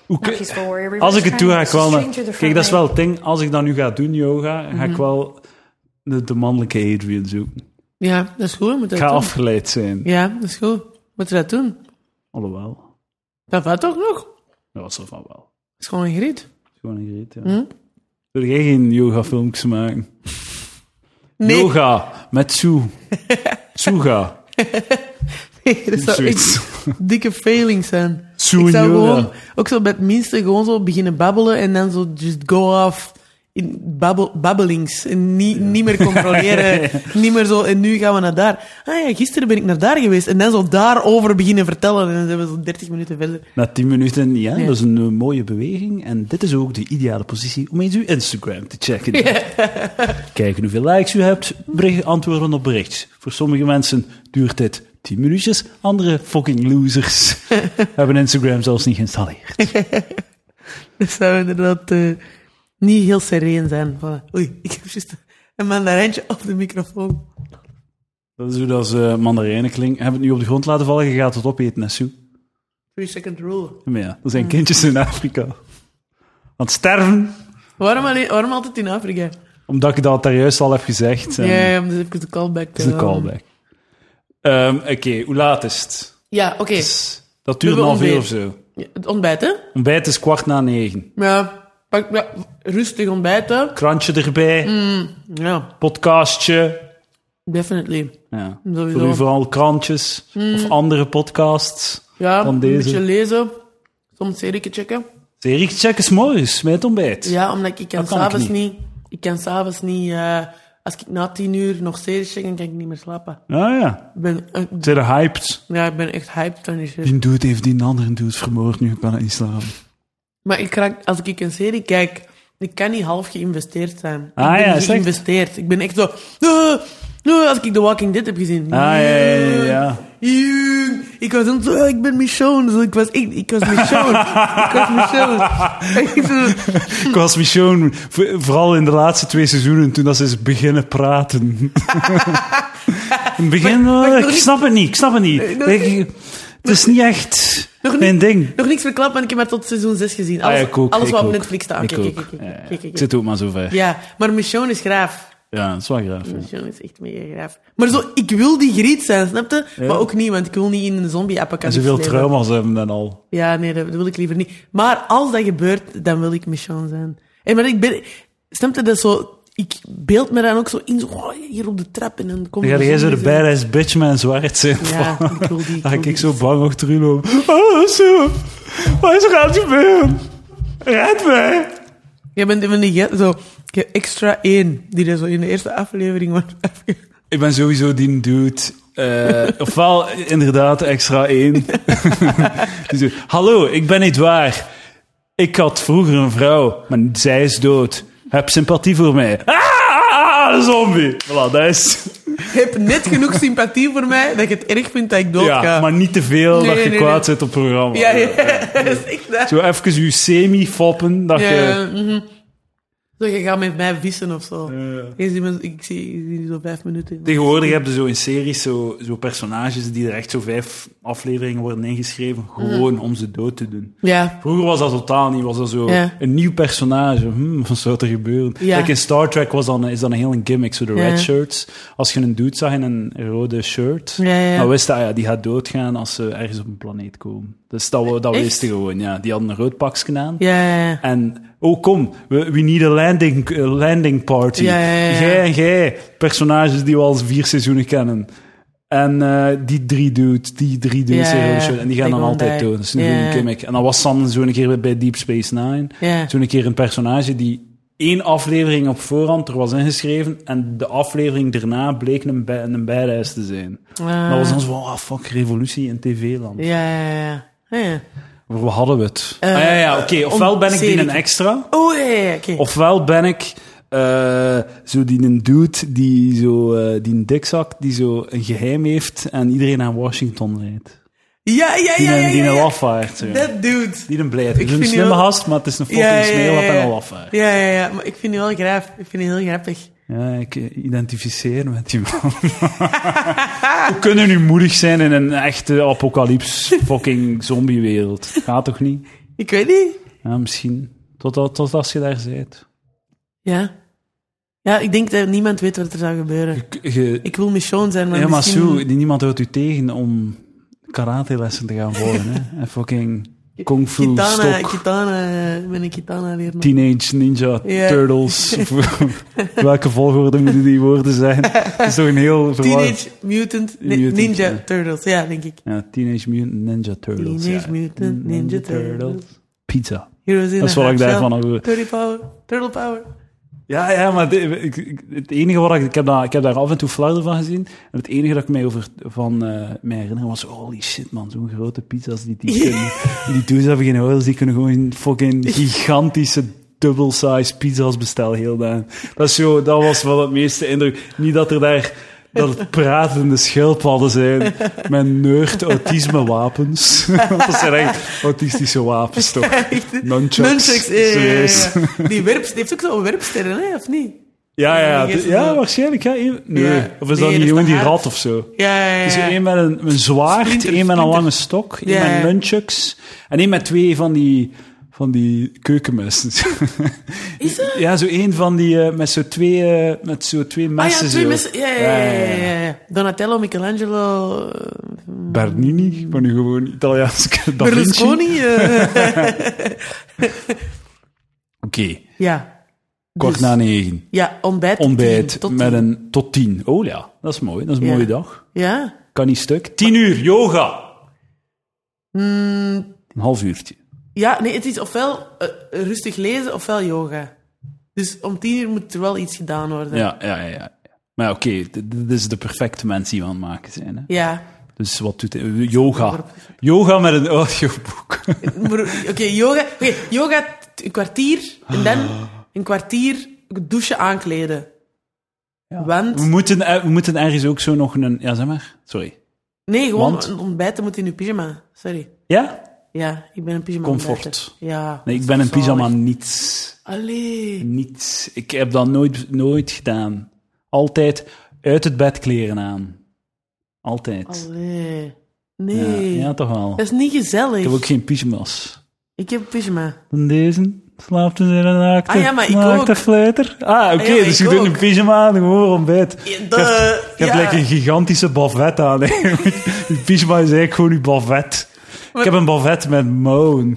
Speaker 1: Hoe
Speaker 3: not
Speaker 1: kun-
Speaker 3: peaceful warrior. We
Speaker 1: als
Speaker 3: were
Speaker 1: ik het
Speaker 3: trying
Speaker 1: doe, ga
Speaker 3: to
Speaker 1: ik wel...
Speaker 3: strain
Speaker 1: naar-
Speaker 3: through the
Speaker 1: Kijk, dat is wel
Speaker 3: front
Speaker 1: het ding. Als ik dat nu ga doen, yoga, ga ik wel de, de mannelijke Adrian zoeken.
Speaker 2: ja, dat is goed. Moet je
Speaker 1: Ik
Speaker 2: dat
Speaker 1: ga
Speaker 2: doen.
Speaker 1: afgeleid zijn.
Speaker 2: Ja, dat is goed. Moet je dat doen?
Speaker 1: Alhoewel.
Speaker 2: Dat valt toch nog? Dat
Speaker 1: Dat was er van wel.
Speaker 2: is gewoon een griet.
Speaker 1: Het is Gewoon een griet, ja. Wil jij geen yoga-filmpjes maken? Yoga, met Sue. Suga.
Speaker 2: Nee, dat zou
Speaker 1: Zoiets.
Speaker 2: echt dikke failing zijn.
Speaker 1: Zoen,
Speaker 2: ik zou
Speaker 1: joh,
Speaker 2: gewoon,
Speaker 1: ja.
Speaker 2: ook zo bij het minste, gewoon zo beginnen babbelen en dan zo just go off in babbel, babbelings. En niet, niet meer controleren, niet meer zo, en nu gaan we naar daar. Ah ja, gisteren ben ik naar daar geweest. En dan zo daarover beginnen vertellen en dan zijn we zo 30 minuten verder.
Speaker 1: Na 10 minuten, ja,
Speaker 2: Ja.
Speaker 1: dat is een eh, mooie beweging. En dit is ook de ideale positie om eens uw Instagram te checken. Kijken hoeveel likes u hebt, bericht, antwoorden op bericht. Voor sommige mensen duurt dit 10 minuutjes, andere fucking losers hebben Instagram zelfs niet geïnstalleerd.
Speaker 2: Dat zou inderdaad eh, niet heel sereen zijn. Voilà. Oei, ik heb juist een mandarijntje op de microfoon.
Speaker 1: Dat is hoe dat ze eh, mandarijnen klinken. Hebben het nu op de grond laten vallen, je gaat het opeten, hè, Sue.
Speaker 2: Three second rule.
Speaker 1: Maar ja, er zijn kindjes in Afrika. Aan het sterven,
Speaker 2: Waarom, alleen, waarom altijd in Afrika?
Speaker 1: omdat ik dat daar juist al heb gezegd.
Speaker 2: Ja,
Speaker 1: En
Speaker 2: ja, dus even de callback.
Speaker 1: Dat is een callback. Ehm, Oké, hoe laat is het?
Speaker 2: Ja, oké.
Speaker 1: Dus Dat duurt een
Speaker 2: Dubbel
Speaker 1: half uur of
Speaker 2: ontbijt.
Speaker 1: zo.
Speaker 2: Ja, Het ontbijt, hè?
Speaker 1: Ontbijt is kwart na negen.
Speaker 2: Ja, pak, ja, rustig ontbijten.
Speaker 1: Krantje erbij,
Speaker 2: Mm. Ja,
Speaker 1: podcastje.
Speaker 2: definitely.
Speaker 1: Ja.
Speaker 2: Sowieso. Mm.
Speaker 1: Voor u vooral krantjes of andere podcasts
Speaker 2: Ja,
Speaker 1: dan
Speaker 2: een
Speaker 1: deze.
Speaker 2: beetje lezen. Soms serieke checken.
Speaker 1: Serie checken 's morgens met het ontbijt.
Speaker 2: Ja, omdat ik kan
Speaker 1: Dat kan ik
Speaker 2: s'avonds niet. Ik kan s'avonds niet... eh, als ik na tien uur nog series check, dan kan ik niet meer slapen.
Speaker 1: Ah ja,
Speaker 2: Ik ben, eh,
Speaker 1: zijn er hyped.
Speaker 2: ja, ik ben echt hyped van die shit.
Speaker 1: Die doet heeft die andere doet vermoord, nu kan het niet slapen.
Speaker 2: Maar ik raak, als ik een serie kijk, ik kan niet half geïnvesteerd zijn.
Speaker 1: Ah,
Speaker 2: ik ben
Speaker 1: ja, is echt-
Speaker 2: geïnvesteerd. Ik ben echt zo... "Ah, ah," als ik The Walking Dead heb gezien.
Speaker 1: Ah ja, ja, ja, ja.
Speaker 2: Jong, Ik was dan zo, "Ah, ik ben Michonne. Zo, ik was, ik, ik was Michonne. ik was Michonne. En ik zo,
Speaker 1: Ik was Michonne, vo- vooral in de laatste twee seizoenen, toen dat ze is beginnen praten. in het begin,
Speaker 2: maar
Speaker 1: eh,
Speaker 2: nog
Speaker 1: ik
Speaker 2: niet-
Speaker 1: snap het niet, ik snap het niet.
Speaker 2: nog
Speaker 1: Ik- het is niet echt
Speaker 2: nog
Speaker 1: mijn
Speaker 2: niet-
Speaker 1: ding.
Speaker 2: Nog niks verklapt, maar ik heb maar tot seizoen 6 gezien. Alles,
Speaker 1: Ah, ja, ik ook,
Speaker 2: alles
Speaker 1: ik
Speaker 2: wat op
Speaker 1: ook.
Speaker 2: Netflix staat.
Speaker 1: Ik
Speaker 2: Kijk, kijk,
Speaker 1: ook.
Speaker 2: kijk,
Speaker 1: Ja, ja.
Speaker 2: kijk, kijk,
Speaker 1: Ik
Speaker 2: kijk.
Speaker 1: zit ook maar zo ver. Ja,
Speaker 2: Ja, maar Michonne is graaf.
Speaker 1: dat is wel graaf. ja.
Speaker 2: Michonne is echt mega graaf. Maar zo, ik wil die griet zijn, snap je? Maar ook niet, want ik wil niet in een zombie-apocalypse
Speaker 1: En zoveel
Speaker 2: leven.
Speaker 1: trauma's hebben dan al.
Speaker 2: Ja, nee, dat, dat wil ik liever niet. Maar als dat gebeurt, dan wil ik Michonne zijn. En maar ik ben... Snap je dat zo... Ik beeld me dan ook zo in, zo, oh, hier op de trap en dan kom
Speaker 1: Dan
Speaker 2: ik.
Speaker 1: ga jij zo de badass bitch man zwart zijn.
Speaker 2: Ja,
Speaker 1: Van-
Speaker 2: ik wil die,
Speaker 1: Dan
Speaker 2: ik
Speaker 1: ga
Speaker 2: wil
Speaker 1: ik
Speaker 2: die.
Speaker 1: zo bang achterin lopen. Oh, zo. Wat is er aan het gebeuren? Red mij.
Speaker 2: Jij bent van die ge- zo, ge- extra één, die er zo in de eerste aflevering wordt afge...
Speaker 1: Ik ben sowieso die dude. eh, ofwel inderdaad extra één. Die zo, Hallo, ik ben niet waar. Ik had vroeger een vrouw, maar zij is dood. Heb sympathie voor mij. Ah, ah, ah, de zombie. Voilà, dat is...
Speaker 2: Je hebt net genoeg sympathie voor mij dat je het erg vindt dat ik dood
Speaker 1: Ja,
Speaker 2: ga.
Speaker 1: maar niet te veel
Speaker 2: eh, Nee,
Speaker 1: dat je
Speaker 2: nee,
Speaker 1: kwaad
Speaker 2: nee.
Speaker 1: zit op het programma.
Speaker 2: ja, ja, dat is echt dat.
Speaker 1: Zo even je semi-foppen, dat je...
Speaker 2: Ja, mhm. Zo, je gaat met mij vissen of zo. Je ziet me- Ik zie je ziet zo vijf minuten.
Speaker 1: Tegenwoordig heb je zo in series zo, zo personages die er echt zo vijf afleveringen worden ingeschreven, gewoon om ze dood te doen.
Speaker 2: Ja,
Speaker 1: Vroeger was dat totaal niet, was dat zo
Speaker 2: Ja.
Speaker 1: een nieuw personage. Hmm, wat zou er gebeuren?
Speaker 2: Ja.
Speaker 1: Kijk, in Star Trek was dan, is dat een hele gimmick, zo de
Speaker 2: Ja.
Speaker 1: red shirts. Als je een dude zag in een rode shirt,
Speaker 2: Ja, ja, ja.
Speaker 1: dan wist je, ah ja, die gaat doodgaan als ze ergens op een planeet komen. Dat Dus dat, we, dat
Speaker 2: Echt?
Speaker 1: wisten gewoon, ja. Die hadden een rood pakje aan.
Speaker 2: Ja, ja, ja.
Speaker 1: En, oh kom, we, we need a landing, eh, landing party.
Speaker 2: Ja, ja, ja, ja.
Speaker 1: Jij en jij, personages die we al vier seizoenen kennen. En eh, die drie dudes, die drie dudes.
Speaker 2: Ja, ja, ja.
Speaker 1: zeggen, "Oh, shit." En die gaan
Speaker 2: Big
Speaker 1: dan
Speaker 2: one
Speaker 1: altijd
Speaker 2: die.
Speaker 1: dood. Dat is een
Speaker 2: Ja,
Speaker 1: goede
Speaker 2: ja.
Speaker 1: gimmick. En dan was Sam zo'n keer bij Deep Space Nine.
Speaker 2: ja.
Speaker 1: Toen een keer een personage die één aflevering op voorhand er was ingeschreven. En de aflevering daarna bleek een, bij, een badass te zijn.
Speaker 2: Ah.
Speaker 1: Dat was ons van, ah fuck, revolutie in tv-land.
Speaker 2: Ja, ja, ja. ja. ja.
Speaker 1: Waar hadden we het?
Speaker 2: Eh,
Speaker 1: ah, ja, ja, oké. Ofwel
Speaker 2: om-
Speaker 1: ben ik die
Speaker 2: serie.
Speaker 1: een extra.
Speaker 2: Oh, ja, ja, ja, oké.
Speaker 1: Ofwel ben ik eh, zo die een dude die zo eh, die een dikzak die zo een geheim heeft en iedereen naar Washington rijdt.
Speaker 2: Ja, ja,
Speaker 1: Die
Speaker 2: ja,
Speaker 1: een,
Speaker 2: ja,
Speaker 1: die nou
Speaker 2: ja,
Speaker 1: een
Speaker 2: ja.
Speaker 1: lafaard. zo.
Speaker 2: Dat dude.
Speaker 1: Die een blijft. Het is
Speaker 2: vind
Speaker 1: een
Speaker 2: die
Speaker 1: slimme
Speaker 2: wel-
Speaker 1: gast, maar het is een fucking
Speaker 2: Ja, ja, ja,
Speaker 1: smeerlap en
Speaker 2: ja.
Speaker 1: een lafaard. Ja.
Speaker 2: Ja, ja, ja. Maar ik vind die wel graaf. Ik vind die heel grappig.
Speaker 1: ik eh, identificeer me met die man. We kunnen nu moedig zijn in een echte apocalyps fucking zombiewereld. Gaat toch niet?
Speaker 2: Ik weet niet.
Speaker 1: Ja, misschien. Tot, al- tot als je daar bent.
Speaker 2: Ja. Ja, ik denk dat niemand weet wat er zou gebeuren.
Speaker 1: Je- je-
Speaker 2: Ik wil Michonne zijn, maar
Speaker 1: Ja, maar
Speaker 2: misschien...
Speaker 1: Sue, die niemand houdt u tegen om karatelessen te gaan volgen. hè? En fucking kung fu
Speaker 2: Kitana,
Speaker 1: stok,
Speaker 2: Kitana, eh, met een Kitana leren.
Speaker 1: teenage ninja
Speaker 2: Ja.
Speaker 1: turtles. of welke volgorde moeten die woorden zijn? Dat is toch een heel verwarrend...
Speaker 2: Teenage Mutant, Ni-
Speaker 1: Mutant,
Speaker 2: Ninja
Speaker 1: ja.
Speaker 2: Turtles. Ja, denk ik.
Speaker 1: Ja, teenage Mutant Ninja Turtles.
Speaker 2: Teenage
Speaker 1: ja.
Speaker 2: Mutant Ninja Turtles.
Speaker 1: Pizza.
Speaker 2: Heroes in
Speaker 1: Dat is
Speaker 2: a
Speaker 1: wat ik
Speaker 2: Nutshell.
Speaker 1: daarvan heb gehoord.
Speaker 2: Turtle power. Turtle power.
Speaker 1: Ja, ja, maar dit- ik, ik- het enige wat ik... Ik heb, daar, ik heb daar af en toe flarden van gezien. En het enige dat ik mij over van eh mij herinner was... Holy shit, man. Zo'n grote pizza's die die kunnen. Die dudes hebben geen oils. Die kunnen gewoon fucking gigantische double size pizza's bestellen heel daar. Dat, is zo, dat was wel het meeste indruk. Niet dat er daar... Dat het pratende schildpadden zijn met neurt autisme wapens. dat zijn echt autistische wapens, toch? Nunchucks.
Speaker 2: Nunchucks. eh,
Speaker 1: Serieus.
Speaker 2: ja, ja, ja. Die, werp, die heeft ook zo'n werpsterren, hè, of niet?
Speaker 1: Ja, ja,
Speaker 2: Nee,
Speaker 1: ja,
Speaker 2: is het
Speaker 1: ja
Speaker 2: wel.
Speaker 1: waarschijnlijk. Ja. Eén- Nee.
Speaker 2: Ja.
Speaker 1: Of is dat
Speaker 2: Nee, dat
Speaker 1: niet
Speaker 2: is
Speaker 1: gewoon
Speaker 2: de
Speaker 1: die
Speaker 2: haard.
Speaker 1: rat of zo?
Speaker 2: Ja, ja, ja.
Speaker 1: Dus één met een, een zwaard,
Speaker 2: Splinter,
Speaker 1: één met een
Speaker 2: splinter.
Speaker 1: lange stok, één
Speaker 2: Ja,
Speaker 1: met
Speaker 2: ja.
Speaker 1: nunchucks en één met twee van die, van die keukenmessen.
Speaker 2: Is Ah, dat?
Speaker 1: ja, zo één van die eh, met zo twee, eh, met zo twee
Speaker 2: Ah
Speaker 1: messen.
Speaker 2: ja, twee
Speaker 1: zo.
Speaker 2: mensen. Ja, ja, ja, ja, ja, ja. Donatello, Michelangelo, eh,
Speaker 1: Bernini, ik ben nu gewoon Italiaans. Da Vinci.
Speaker 2: Berlusconi. eh.
Speaker 1: Oké,
Speaker 2: Dus ja.
Speaker 1: kort
Speaker 2: Dus,
Speaker 1: na negen.
Speaker 2: Ja, ontbijt. tot
Speaker 1: Ontbijt
Speaker 2: tien, tot
Speaker 1: met
Speaker 2: tien.
Speaker 1: een tot tien. Oh ja, dat is mooi. Dat is een
Speaker 2: Ja.
Speaker 1: mooie dag.
Speaker 2: Ja.
Speaker 1: Kan niet stuk. Tien uur, yoga.
Speaker 2: Mm,
Speaker 1: Een half uurtje.
Speaker 2: ja, nee, het is ofwel eh, rustig lezen ofwel yoga. Dus om tien uur moet er wel iets gedaan worden.
Speaker 1: Ja, ja, ja. ja. Maar ja, oké, d- d- dit is de perfecte mens die we aan het maken zijn. Hè?
Speaker 2: Ja.
Speaker 1: Dus wat doet hij? Yoga. Yoga met een audioboek.
Speaker 2: Maar, Oké, yoga, oké, yoga t- een kwartier en dan een kwartier douchen aankleden. Want,
Speaker 1: We moeten, eh, we moeten ergens ook zo nog een... Ja, zeg maar. Sorry.
Speaker 2: nee, gewoon
Speaker 1: want?
Speaker 2: een ontbijten moet in je pyjama. Sorry.
Speaker 1: Ja?
Speaker 2: Ja, ik ben een pyjama
Speaker 1: Comfort.
Speaker 2: ontbijter. Ja.
Speaker 1: Nee, ik
Speaker 2: dat
Speaker 1: ben
Speaker 2: is
Speaker 1: een
Speaker 2: zalig.
Speaker 1: pyjama niets.
Speaker 2: Allee.
Speaker 1: Niets. Ik heb dat nooit, nooit gedaan. Altijd uit het bed kleren aan. Altijd.
Speaker 2: Allee.
Speaker 1: Ja,
Speaker 2: Nee.
Speaker 1: ja, toch wel.
Speaker 2: Dat is niet gezellig.
Speaker 1: Ik heb ook geen pyjamas.
Speaker 2: Ik heb een pyjama.
Speaker 1: Dan deze. Slaapt in een naakte,
Speaker 2: Ah ja, maar ik
Speaker 1: naakte
Speaker 2: ook.
Speaker 1: fluiter. Ah, oké,
Speaker 2: Ah ja, maar
Speaker 1: dus
Speaker 2: ik
Speaker 1: je doet een
Speaker 2: ook.
Speaker 1: pyjama aan, gewoon ontbijt.
Speaker 2: Ja,
Speaker 1: Je
Speaker 2: de-
Speaker 1: hebt, je hebt
Speaker 2: ja.
Speaker 1: lekker een gigantische bavet aan. hè. Je pyjama is eigenlijk gewoon je bavet. Ik heb een bavet met mouwen.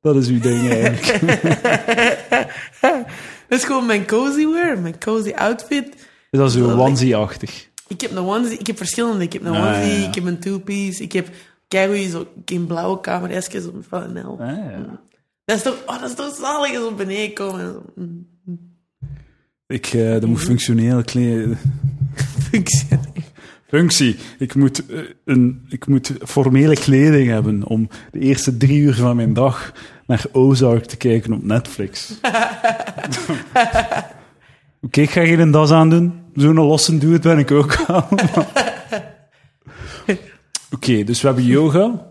Speaker 1: Dat is uw ding eigenlijk.
Speaker 2: Dat is gewoon mijn cozy wear, mijn cozy outfit.
Speaker 1: Dus dat is
Speaker 2: Dat
Speaker 1: zo
Speaker 2: is-
Speaker 1: onesie-achtig.
Speaker 2: Ik heb een onesie, ik heb verschillende. Ik heb een
Speaker 1: Ah,
Speaker 2: onesie,
Speaker 1: ja.
Speaker 2: ik heb een two-piece, ik heb... Kijk hoe je zo in blauwe kamerjesjes op van NL.
Speaker 1: Ah, ja.
Speaker 2: Dat is toch, oh, dat is toch zalig als we beneden komen. en zo, mm,
Speaker 1: Ik, eh, dat
Speaker 2: Mhm.
Speaker 1: moet functioneel kleden.
Speaker 2: Functie.
Speaker 1: Functie. Ik moet, eh, een, ik moet formele kleding hebben om de eerste drie uur van mijn dag naar Ozark te kijken op Netflix. Oké, ik ga geen das aandoen. Zo'n losse doet ben ik ook aan. Oké, dus we hebben yoga.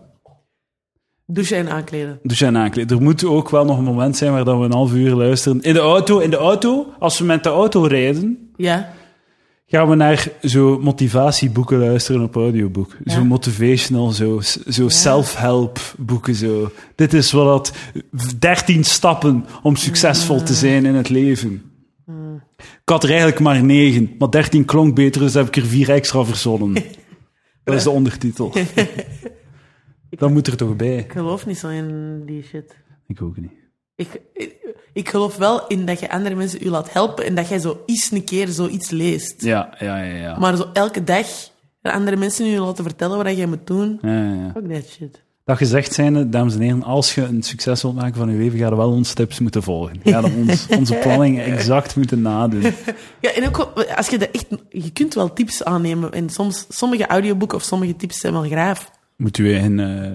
Speaker 2: Douchen en aankleden.
Speaker 1: Dus en aankleden. Er moet ook wel nog een moment zijn waar dat we een half uur luisteren. In de auto, in de auto, als we met de auto rijden,
Speaker 2: Ja.
Speaker 1: gaan we naar zo motivatieboeken luisteren op audioboek.
Speaker 2: Ja.
Speaker 1: Zo motivational, zo, zo self-help boeken. Zo. Dit is wat dat 13 stappen om succesvol te zijn in het leven. Ik had er eigenlijk maar 9, maar 13 klonk beter, dus heb ik er vier extra verzonnen. Dat is de ondertitel. Dat moet er toch bij?
Speaker 2: Ik geloof niet zo in die shit.
Speaker 1: Ik ook niet.
Speaker 2: Ik, ik, ik geloof wel in dat je andere mensen u laat helpen en dat jij zo eens een keer zoiets leest.
Speaker 1: Ja, ja, ja. ja.
Speaker 2: Maar zo elke dag dat andere mensen u laten vertellen wat jij moet doen.
Speaker 1: ja, ja, ja.
Speaker 2: Fuck that shit.
Speaker 1: Dat gezegd zijnde, dames en heren, als je een succes wilt maken van je leven, ga je wel onze tips moeten volgen. Ga je ons, onze planning exact moeten nadoen.
Speaker 2: Ja, en ook wel, als je dat echt. Je kunt wel tips aannemen. En soms, sommige audioboeken of sommige tips zijn wel graaf.
Speaker 1: Moet u een eh,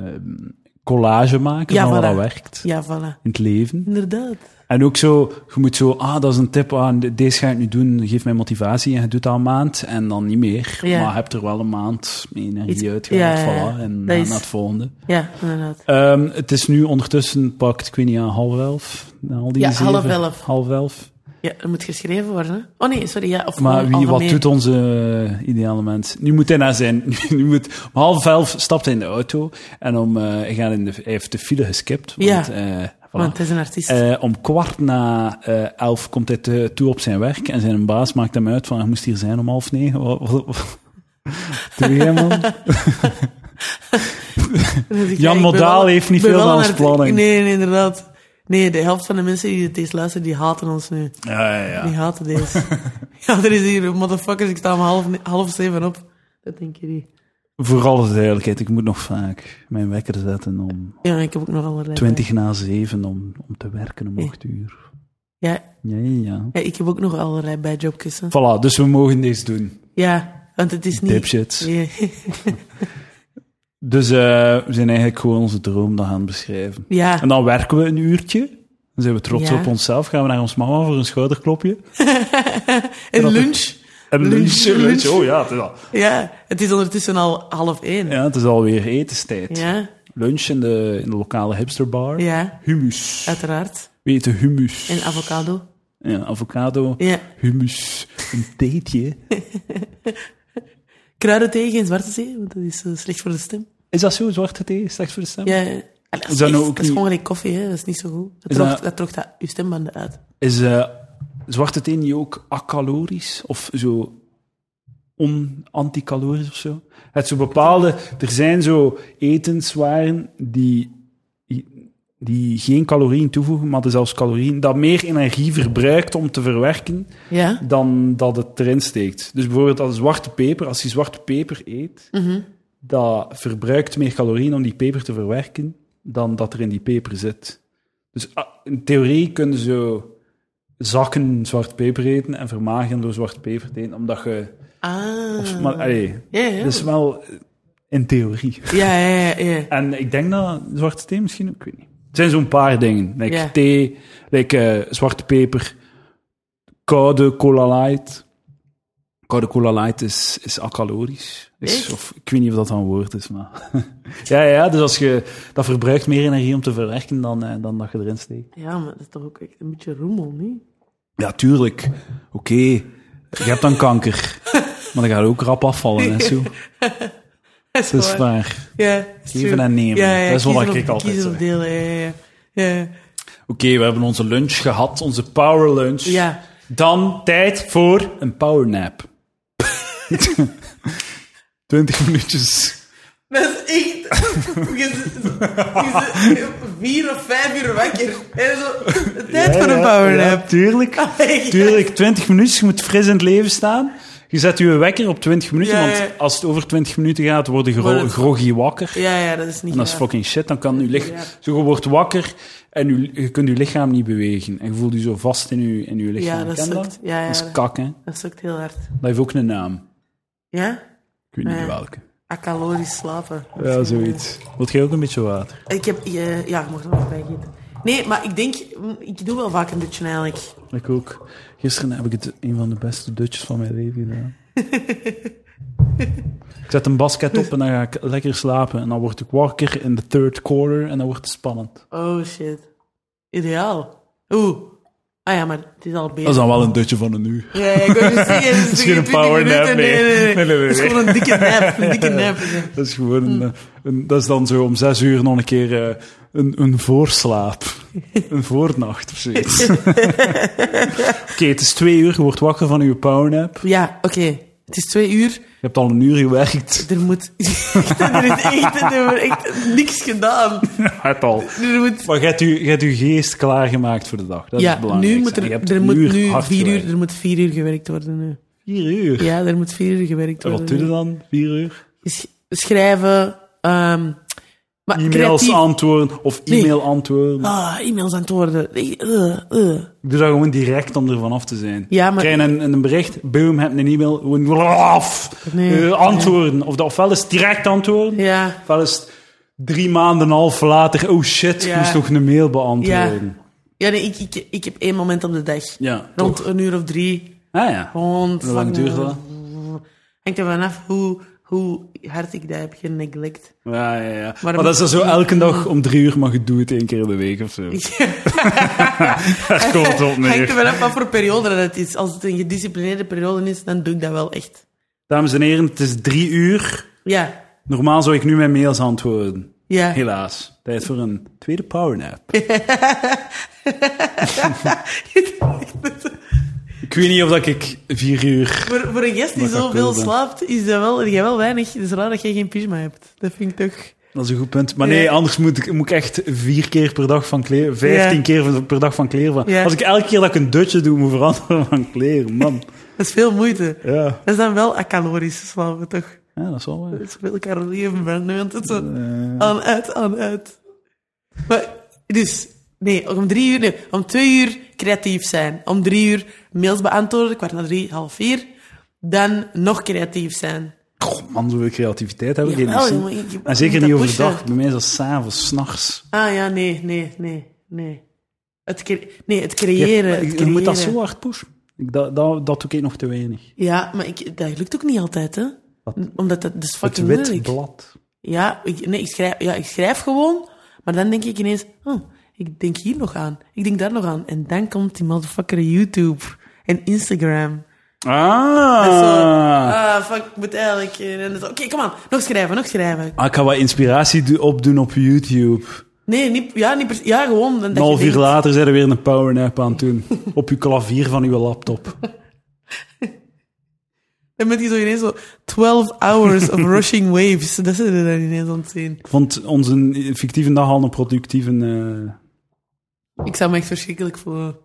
Speaker 1: collage maken
Speaker 2: Ja,
Speaker 1: van wat
Speaker 2: voilà.
Speaker 1: dat werkt
Speaker 2: Ja, voilà.
Speaker 1: in het leven.
Speaker 2: Inderdaad.
Speaker 1: En ook zo, je moet zo, ah, dat is een tip, ah, de- deze ga ik nu doen, geef mij motivatie. En je doet dat een maand en dan niet meer.
Speaker 2: Ja.
Speaker 1: Maar je hebt er wel een maand
Speaker 2: Iets-
Speaker 1: energie uitgehaald,
Speaker 2: ja, ja, ja.
Speaker 1: voilà, en
Speaker 2: Dat
Speaker 1: na-
Speaker 2: is-
Speaker 1: naar het volgende.
Speaker 2: Ja, inderdaad.
Speaker 1: Ehm, het is nu ondertussen, pakt, ik weet niet, aan half elf? na Al die
Speaker 2: Ja,
Speaker 1: zeven-
Speaker 2: half elf.
Speaker 1: Half elf.
Speaker 2: Ja, dat moet geschreven worden. hè? Oh nee, sorry. Ja, of
Speaker 1: Maar
Speaker 2: gewoon
Speaker 1: wie, wat
Speaker 2: algemeen.
Speaker 1: doet onze eh, ideale mens? Nu moet hij naar zijn. Nu moet, om half elf stapt hij in de auto. En om, eh, hij, gaat in de, hij heeft de file geskipt. Want,
Speaker 2: Ja,
Speaker 1: eh, voilà.
Speaker 2: Want het is een artiest.
Speaker 1: Eh, om kwart na eh, elf komt hij te- toe op zijn werk. En zijn baas maakt hem uit van hij moest hier zijn om half negen. Wat, wat, wat- Doe jij, man?
Speaker 2: Dan zeg Dus
Speaker 1: Jan
Speaker 2: ik, ja, ik ben
Speaker 1: Modaal
Speaker 2: wel-
Speaker 1: heeft niet
Speaker 2: ik ben
Speaker 1: veel
Speaker 2: wel
Speaker 1: aan
Speaker 2: een
Speaker 1: ons
Speaker 2: artiest.
Speaker 1: plannen.
Speaker 2: Nee, nee, inderdaad. Nee, de helft van de mensen die het eens luisteren, die haten ons nu.
Speaker 1: Ja, ja, ja.
Speaker 2: Die haten deze. ja, er is hier, motherfuckers, ik sta om half, ne- half zeven op. Dat denken jullie.
Speaker 1: Voor alle duidelijkheid, ik moet nog vaak mijn wekker zetten om
Speaker 2: Ja, ik heb ook nog allerlei...
Speaker 1: twintig na zeven om, om te werken om acht uur.
Speaker 2: Ja,
Speaker 1: Ja, ja, ja.
Speaker 2: ja, ik heb ook nog allerlei bijjobjes. hè.
Speaker 1: Voilà, dus we mogen deze doen.
Speaker 2: Ja, want het is niet...
Speaker 1: Dipshits.
Speaker 2: Nee.
Speaker 1: Dus eh, we zijn eigenlijk gewoon onze droom dan gaan beschrijven.
Speaker 2: Ja,
Speaker 1: En dan werken we een uurtje. Dan zijn we trots
Speaker 2: Ja.
Speaker 1: op onszelf. Gaan we naar ons mama voor een schouderklopje.
Speaker 2: en lunch.
Speaker 1: En
Speaker 2: Lunch,
Speaker 1: lunchen,
Speaker 2: lunch.
Speaker 1: lunch. Oh ja, het is, al,
Speaker 2: Ja, het is ondertussen al half één.
Speaker 1: ja, het is alweer etenstijd.
Speaker 2: Ja,
Speaker 1: Lunch in de, in de lokale hipsterbar.
Speaker 2: ja,
Speaker 1: Humus.
Speaker 2: uiteraard.
Speaker 1: We eten hummus.
Speaker 2: En avocado.
Speaker 1: ja, avocado.
Speaker 2: Ja.
Speaker 1: Hummus. Een theetje.
Speaker 2: Kruiden tegen geen zwarte zee, want dat is eh, slecht voor de stem.
Speaker 1: Is dat zo, zwarte thee? Slecht voor de stem?
Speaker 2: Ja, ja. Allee, dat
Speaker 1: Is
Speaker 2: is,
Speaker 1: dat nou
Speaker 2: echt-
Speaker 1: ook
Speaker 2: dat is
Speaker 1: niet-
Speaker 2: gewoon gelijk koffie, hè? dat is niet zo goed. Dat
Speaker 1: Is
Speaker 2: droogt
Speaker 1: dat-
Speaker 2: dat... droogt dat, uw stembanden uit.
Speaker 1: Is eh, zwarte thee niet ook acalorisch? Of zo on-anticalorisch of zo? Het zo bepaalde... Er zijn zo etenswaren die, die geen calorieën toevoegen, maar er zelfs calorieën... Dat meer energie verbruikt om te verwerken
Speaker 2: Ja?
Speaker 1: dan dat het erin steekt. Dus bijvoorbeeld als zwarte peper, als je zwarte peper eet,
Speaker 2: Mhm.
Speaker 1: dat verbruikt meer calorieën om die peper te verwerken dan dat er in die peper zit. Dus ah, in theorie kunnen ze zakken zwarte peper eten en vermagen door zwarte peper te eten, omdat je...
Speaker 2: Ah.
Speaker 1: Maar allee,
Speaker 2: ja, ja.
Speaker 1: dat is wel eh, in theorie.
Speaker 2: ja, ja, ja, ja.
Speaker 1: En ik denk dat zwarte thee misschien ook, ik weet niet. Het zijn zo'n paar dingen. Like
Speaker 2: Ja.
Speaker 1: thee, like, eh, zwarte peper, koude cola light. Koude cola light is, is acalorisch. Is,
Speaker 2: Echt?
Speaker 1: of, ik weet niet of dat dan een woord is, maar... ja, ja, dus als je, dat verbruikt meer energie om te verwerken dan, eh, dan dat je erin steekt.
Speaker 2: Ja, maar dat is toch ook echt een beetje roemel, niet?
Speaker 1: Ja, tuurlijk. Oké, je hebt dan kanker. maar dan ga je ook rap afvallen en zo.
Speaker 2: Dat is
Speaker 1: Dat is
Speaker 2: waar.
Speaker 1: waar.
Speaker 2: Ja, is
Speaker 1: Geven
Speaker 2: true.
Speaker 1: en nemen.
Speaker 2: Ja, ja,
Speaker 1: Dat is wat
Speaker 2: kiezen
Speaker 1: ik
Speaker 2: of-
Speaker 1: altijd
Speaker 2: Kiezen of
Speaker 1: zeg.
Speaker 2: delen, ja, ja, ja.
Speaker 1: Oké, we hebben onze lunch gehad, onze power lunch.
Speaker 2: Ja.
Speaker 1: Dan tijd voor een powernap. Twintig minuutjes.
Speaker 2: Dat is echt... Je zit- je zit vier of vijf uur wakker. En zo, tijd voor een powernap.
Speaker 1: Ja, tuurlijk. Tuurlijk, twintig minuutjes. Je moet fris in het leven staan. Je zet je wekker op twintig minuten,
Speaker 2: Ja, ja.
Speaker 1: want als het over twintig minuten gaat, word je gro
Speaker 2: Wordt het-
Speaker 1: groggy wakker.
Speaker 2: Ja, ja, dat is niet
Speaker 1: En dat is
Speaker 2: graag.
Speaker 1: fucking shit. Dan kan je
Speaker 2: Ja.
Speaker 1: lichaam... Zo, je wordt wakker en je, je kunt je lichaam niet bewegen. En je voelt je zo vast in je, in je lichaam.
Speaker 2: Ja, dat
Speaker 1: Ken
Speaker 2: sukt. Ja, ja,
Speaker 1: dat is
Speaker 2: dat-
Speaker 1: kak, hè.
Speaker 2: Dat sukt heel hard.
Speaker 1: Dat heeft ook een naam.
Speaker 2: Ja?
Speaker 1: Ik weet niet
Speaker 2: Nee.
Speaker 1: welke.
Speaker 2: Acalorisch slapen.
Speaker 1: Ja, zoiets. Wilt jij ook een beetje water?
Speaker 2: Ik heb... eh, Ja, ik mocht er nog bij gieten. Nee, maar ik denk... mm, Ik doe wel vaak een dutje eigenlijk.
Speaker 1: Ik ook. Gisteren heb ik het een van de beste dutjes van mijn leven gedaan. ik zet een basket op en dan ga ik lekker slapen. En dan word ik wakker in de third quarter en dan wordt het spannend.
Speaker 2: Oh, shit. Ideaal. Oeh. Ah ja, maar het is al beter.
Speaker 1: Dat is dan wel een dutje van een uur.
Speaker 2: Ja, ja, ik wou net zeggen, het is
Speaker 1: is geen
Speaker 2: 20
Speaker 1: powernap,
Speaker 2: minuten.
Speaker 1: nee.
Speaker 2: Nee, nee,
Speaker 1: Nee,
Speaker 2: nee.
Speaker 1: nee, nee,
Speaker 2: Het is
Speaker 1: nee.
Speaker 2: gewoon een dikke nap. Een dikke nap. ja.
Speaker 1: Dat is gewoon een, eh, een- Dat is dan zo om zes uur nog een keer eh, een, een voorslaap. een voornacht of zoiets. Oké, het is twee uur. Je wordt wakker van je powernap.
Speaker 2: Ja, oké. Het is twee uur.
Speaker 1: hebt al een uur gewerkt.
Speaker 2: Er moet... er is echt, er wordt echt niks gedaan.
Speaker 1: Het al.
Speaker 2: Er moet...
Speaker 1: Maar je hebt, je, je hebt je geest klaargemaakt voor de dag. Dat is
Speaker 2: ja,
Speaker 1: het belangrijkste.
Speaker 2: nu moet
Speaker 1: En je
Speaker 2: er,
Speaker 1: hebt
Speaker 2: er
Speaker 1: een
Speaker 2: moet
Speaker 1: uur
Speaker 2: nu
Speaker 1: hard
Speaker 2: vier uur,
Speaker 1: gewerkt.
Speaker 2: er moet vier uur gewerkt worden nu.
Speaker 1: Vier uur?
Speaker 2: Ja, er moet vier uur gewerkt
Speaker 1: En
Speaker 2: worden.
Speaker 1: wat doe je
Speaker 2: nu.
Speaker 1: dan? Vier uur?
Speaker 2: Sch- Schrijven, ehm maar
Speaker 1: E-mails
Speaker 2: creatief-
Speaker 1: antwoorden of
Speaker 2: Nee.
Speaker 1: e-mail antwoorden.
Speaker 2: Ah, e-mails antwoorden. Nee, eh, eh.
Speaker 1: Ik doe dat gewoon direct om er vanaf te zijn.
Speaker 2: Ja, maar-
Speaker 1: Krijg een, een bericht, boom, heb een e-mail, gewoon af.
Speaker 2: Nee.
Speaker 1: Eh, antwoorden. Of dat, ofwel is het direct antwoorden,
Speaker 2: Ja,
Speaker 1: ofwel is het drie maanden en een half later, oh shit, ik
Speaker 2: Ja.
Speaker 1: moest nog een mail beantwoorden.
Speaker 2: ja nee, ik, ik, ik heb één moment op de dag.
Speaker 1: Ja,
Speaker 2: Rond
Speaker 1: toch.
Speaker 2: een uur of drie.
Speaker 1: Ah ja.
Speaker 2: Rond.
Speaker 1: Hoe lang
Speaker 2: van- eh,
Speaker 1: duurt dat?
Speaker 2: Hangt er vanaf hoe, hoe hard ik dat heb geneglect.
Speaker 1: Ja, ja, ja. Maar,
Speaker 2: Maar
Speaker 1: dat is dan zo elke dag om drie uur, maar je doet het één keer in de week of zo. Daar komt het op
Speaker 2: Hangt er
Speaker 1: neer.
Speaker 2: vanaf wat voor periode dat het is. Als het een gedisciplineerde periode is, dan doe ik dat wel echt.
Speaker 1: Dames en heren, het is drie uur.
Speaker 2: Ja,
Speaker 1: Normaal zou ik nu mijn mails antwoorden.
Speaker 2: ja.
Speaker 1: Helaas. Tijd voor een tweede powernap. ik weet niet of dat ik vier uur...
Speaker 2: Voor, voor een gast die
Speaker 1: Omdat ik
Speaker 2: zoveel
Speaker 1: akkoord ben.
Speaker 2: slaapt, is dat wel, jij wel weinig. Het is raar dat jij geen pyjama hebt. Dat vind ik toch...
Speaker 1: Dat is een goed punt. Maar nee,
Speaker 2: Ja.
Speaker 1: anders moet ik, moet ik echt vier keer per dag van kleren... Vijftien
Speaker 2: Ja.
Speaker 1: keer van- per dag van kleren van...
Speaker 2: Ja.
Speaker 1: Als ik elke keer dat ik een dutje doe, moet veranderen van kleren. Man,
Speaker 2: Dat is veel moeite.
Speaker 1: ja.
Speaker 2: Dat is dan wel acalorisch slapen, toch?
Speaker 1: Ja, dat is wel waar.
Speaker 2: Dat is veel calorieën verbrand. Het zo
Speaker 1: Eh,
Speaker 2: aan, uit, aan, uit. Maar, dus... Nee, om drie uur... Nee, om twee uur creatief zijn. Om drie uur mails beantwoorden, kwart na drie, half vier. Dan nog creatief zijn.
Speaker 1: goh, man, zoveel creativiteit hebben we
Speaker 2: Jawel,
Speaker 1: geen zin.
Speaker 2: jongen, ik- ik-
Speaker 1: En zeker
Speaker 2: ik
Speaker 1: niet
Speaker 2: moet dat
Speaker 1: overdag.
Speaker 2: pushen.
Speaker 1: Bij mij is dat s'avonds, s'nachts.
Speaker 2: Ah ja, nee, nee, nee, nee. Het, cre- nee, het creëren. het
Speaker 1: Je moet dat
Speaker 2: creëren.
Speaker 1: zo hard pushen. Ik, dat, dat, dat doe ik nog te weinig.
Speaker 2: Ja, maar ik, dat lukt ook niet altijd, hè?
Speaker 1: Wat?
Speaker 2: Omdat dat, dat is
Speaker 1: Het
Speaker 2: fucking
Speaker 1: wit
Speaker 2: moeilijk.
Speaker 1: blad.
Speaker 2: Ja, ik, nee, ik schrijf, ja, ik schrijf gewoon, maar dan denk ik ineens, oh, ik denk hier nog aan, ik denk daar nog aan. En dan komt die motherfucker YouTube en Instagram.
Speaker 1: Ah.
Speaker 2: En zo, ah, fuck, ik moet eigenlijk... eh, en dan zo, Oké, kom aan, nog schrijven, nog schrijven.
Speaker 1: Ah, ik ga wat inspiratie do- opdoen op YouTube.
Speaker 2: Nee, niet, ja, niet per- ja, gewoon... dat
Speaker 1: Een half
Speaker 2: je
Speaker 1: uur
Speaker 2: denkt-
Speaker 1: later zijn we weer een powernap aan het doen. op uw klavier van uw laptop.
Speaker 2: Dan ben je zo ineens zo, 12 hours of rushing waves. Dat zit er dan ineens aan het zien.
Speaker 1: Ik vond onze fictieve dag al een productieve... eh,
Speaker 2: Ik zou me echt verschrikkelijk voelen.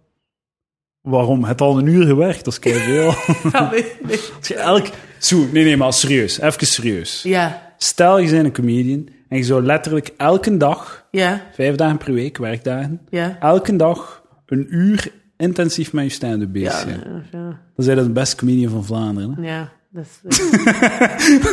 Speaker 1: waarom? Het al een uur gewerkt, dat is keiveel.
Speaker 2: Ja, nee, nee.
Speaker 1: Als je elk... Zo, nee, nee, maar serieus. Even serieus.
Speaker 2: Ja,
Speaker 1: Stel, je bent een comedian en je zou letterlijk elke dag,
Speaker 2: ja,
Speaker 1: vijf dagen per week, werkdagen,
Speaker 2: ja.
Speaker 1: elke dag een uur intensief met je stand-up bezig
Speaker 2: Ja,
Speaker 1: zijn.
Speaker 2: ja,
Speaker 1: Dan zijn dat de beste comedian van Vlaanderen. Hè?
Speaker 2: ja, dat is...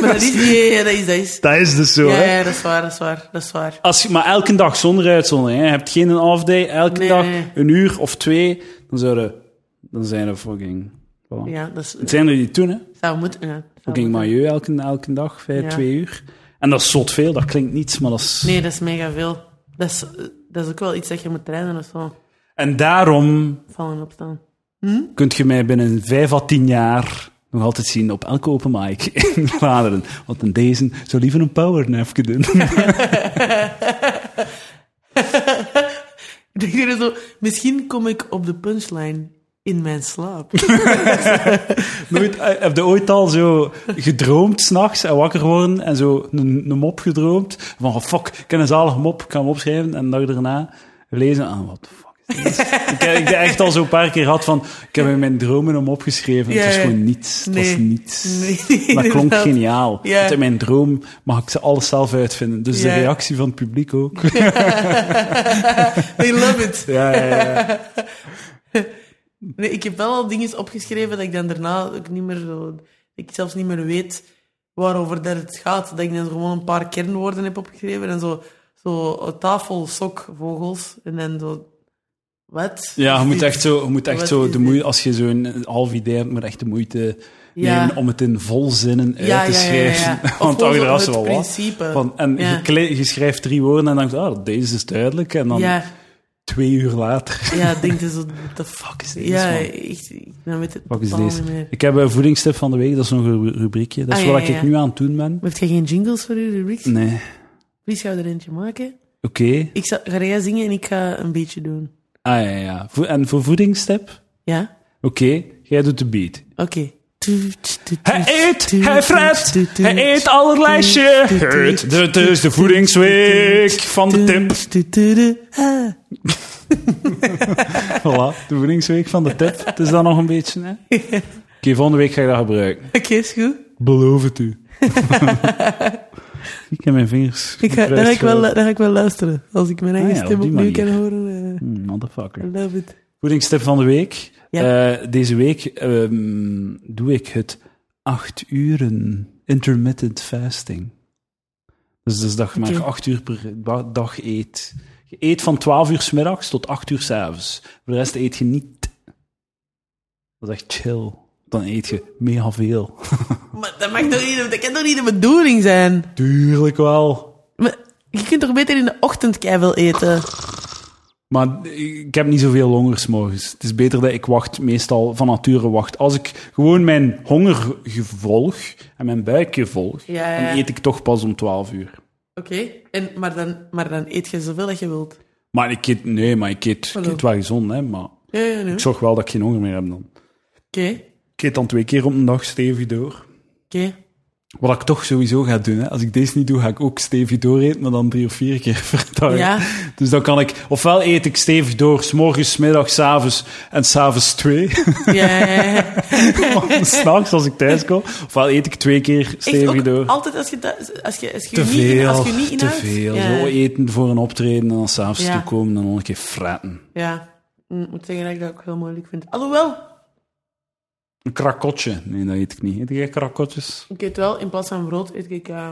Speaker 2: maar dat is... Ja, ja, dat is, dat is.
Speaker 1: Dat is dus zo,
Speaker 2: Ja,
Speaker 1: hè?
Speaker 2: ja, dat is waar, dat is waar, dat is waar.
Speaker 1: Als je, maar elke dag zonder uitzondering. Hè? Je hebt geen half day, elke
Speaker 2: Nee,
Speaker 1: dag
Speaker 2: nee.
Speaker 1: een uur of twee. Dan, zouden, dan zijn er fucking. voilà.
Speaker 2: Ja, dat is...
Speaker 1: Het zijn er die toen, hè?
Speaker 2: Zou moeten, ja. Zou
Speaker 1: Fucking
Speaker 2: moeten.
Speaker 1: Mailleu elke, elke dag, vijf,
Speaker 2: Ja.
Speaker 1: twee uur. En dat is zot veel, dat klinkt niets, maar dat is.
Speaker 2: Nee, dat is mega veel. Dat is, eh, dat is ook wel iets dat je moet trainen of zo.
Speaker 1: En daarom
Speaker 2: Vallen en opstaan.
Speaker 1: kunt je mij binnen vijf à tien jaar nog altijd zien op elke open mic in Vlaanderen. Want in deze zou liever een powernapje doen.
Speaker 2: Ik denk er zo... Misschien kom ik op de punchline in mijn slaap.
Speaker 1: Nooit, eh, heb je ooit al zo gedroomd s'nachts en wakker worden en zo een, een mop gedroomd? Van oh, fuck, ik ken een zalig mop, ik kan hem opschrijven en de dag daarna lezen. Ah, wat de fuck is dit? ik heb ik heb echt al zo een paar keer gehad van, ik heb in mijn dromen hem opgeschreven.
Speaker 2: Ja,
Speaker 1: het was
Speaker 2: ja.
Speaker 1: gewoon niets. Het was
Speaker 2: Nee.
Speaker 1: niets.
Speaker 2: Nee,
Speaker 1: maar het klonk
Speaker 2: inderdaad.
Speaker 1: geniaal.
Speaker 2: Ja.
Speaker 1: Want in mijn droom mag ik ze alles zelf uitvinden. Dus
Speaker 2: Ja.
Speaker 1: de reactie van het publiek ook.
Speaker 2: I love it.
Speaker 1: ja, ja, ja.
Speaker 2: Nee, ik heb wel al dingen opgeschreven dat ik dan daarna ook niet meer zo... dat Ik zelfs niet meer weet waarover dat het gaat. Dat ik dan gewoon een paar kernwoorden heb opgeschreven. En zo, zo tafel, sok, vogels. En dan zo... Wat?
Speaker 1: Ja, je moet echt zo, je moet echt
Speaker 2: Wat
Speaker 1: zo
Speaker 2: is
Speaker 1: de
Speaker 2: dit?
Speaker 1: moeite, als je zo'n half idee hebt, moet je echt de moeite
Speaker 2: Ja.
Speaker 1: nemen om het in volzinnen uit
Speaker 2: Ja,
Speaker 1: te
Speaker 2: ja, ja, ja, ja.
Speaker 1: schrijven.
Speaker 2: Of
Speaker 1: Want dan
Speaker 2: gewoon
Speaker 1: je er
Speaker 2: zo
Speaker 1: als
Speaker 2: het
Speaker 1: wel wat.
Speaker 2: principe.
Speaker 1: Van, en
Speaker 2: Ja.
Speaker 1: je, kle- je schrijft drie woorden en dan denk je, ah, deze is duidelijk. En dan
Speaker 2: Ja,
Speaker 1: twee uur later,
Speaker 2: ja, ik denk dat zo... The fuck
Speaker 1: fuck is deze,
Speaker 2: Ja,
Speaker 1: man?
Speaker 2: echt, ik- dan weet het
Speaker 1: Fuck is
Speaker 2: totaal
Speaker 1: deze?
Speaker 2: niet meer.
Speaker 1: Ik heb een voedingstip van de week, dat is nog een ru- rubriekje. Dat is
Speaker 2: Ah, ja,
Speaker 1: wat
Speaker 2: ja,
Speaker 1: ik
Speaker 2: ja.
Speaker 1: nu aan het doen ben.
Speaker 2: Maar Heeft jij geen jingles voor je rubrieks?
Speaker 1: Nee,
Speaker 2: Wie zou er eentje maken?
Speaker 1: oké.
Speaker 2: Ik zou, ga jij zingen en ik ga een beetje doen.
Speaker 1: Ah, ja, ja. Vo- En voor voedingstip?
Speaker 2: Ja?
Speaker 1: Oké, jij doet de beat.
Speaker 2: Oké.
Speaker 1: Hij eet, hij fret, hij eet allerlei shit. Het is de voedingsweek van de tip. Voilà, de voedingsweek van de tip. Het is dan nog een beetje, hè? Oké, volgende week ga ik dat gebruiken.
Speaker 2: Oké, is goed.
Speaker 1: Beloof het u. ik heb mijn vingers
Speaker 2: Ik ga, daar, ga ik wel, daar ga ik wel luisteren. Als ik mijn eigen
Speaker 1: Ah ja, op
Speaker 2: stem
Speaker 1: die
Speaker 2: opnieuw
Speaker 1: manier.
Speaker 2: kan horen. eh,
Speaker 1: Hmm, Motherfucker.
Speaker 2: I love it.
Speaker 1: Voedingstip van de week.
Speaker 2: Ja.
Speaker 1: Eh, deze week ehm, doe ik het acht uren intermittent fasting. Dus, dus dat je
Speaker 2: Oké.
Speaker 1: maar acht uur per da- dag eet. Je eet van 12 uur 's middags tot 8 uur 's avonds. Voor de rest eet je niet. Dat is echt chill. Dan eet je mega veel.
Speaker 2: Maar dat, mag toch niet, de- dat kan toch niet de bedoeling zijn?
Speaker 1: Tuurlijk wel.
Speaker 2: Maar je kunt toch beter in de ochtend keiveel eten?
Speaker 1: Maar ik heb niet zoveel hongers morgens. Het is beter dat ik wacht, meestal van nature wacht. Als ik gewoon mijn honger volg en mijn buikje volg,
Speaker 2: Ja, ja.
Speaker 1: dan eet ik toch pas om 12 uur.
Speaker 2: Oké, en maar, dan, maar dan eet je zoveel dat je wilt.
Speaker 1: Maar ik eet, nee, maar ik eet, ik
Speaker 2: Hallo.
Speaker 1: eet wel gezond, hè, maar
Speaker 2: Ja, ja, nee.
Speaker 1: ik
Speaker 2: Oké,
Speaker 1: zorg wel dat ik geen honger meer heb dan. Ik eet dan twee keer op een dag stevig door.
Speaker 2: oké.
Speaker 1: Wat ik toch sowieso ga doen, hè. als ik deze niet doe, ga ik ook stevig door eten, maar dan drie of vier keer per dag.
Speaker 2: Ja.
Speaker 1: Dus dan kan ik, ofwel eet ik stevig door, s morgens, 's middags, s avonds en s'avonds twee.
Speaker 2: Ja, ja, ja.
Speaker 1: S'nachts als ik thuis kom. Ofwel eet ik twee keer
Speaker 2: Echt
Speaker 1: stevig
Speaker 2: ook
Speaker 1: door.
Speaker 2: altijd als je, thuis- als je, als je,
Speaker 1: Te
Speaker 2: niet, in-
Speaker 1: veel,
Speaker 2: als je niet
Speaker 1: te
Speaker 2: inhoudt.
Speaker 1: veel.
Speaker 2: Ja,
Speaker 1: Zo eten voor een optreden en dan s'avonds
Speaker 2: Ja.
Speaker 1: toekomen en dan nog een keer fretten.
Speaker 2: ja. Hm, ik moet zeggen dat ik dat ook heel moeilijk vind. Alhoewel,
Speaker 1: Een krakotje. Nee, dat eet ik niet. Eet jij krakotjes?
Speaker 2: ik eet wel, in plaats van brood eet ik eh,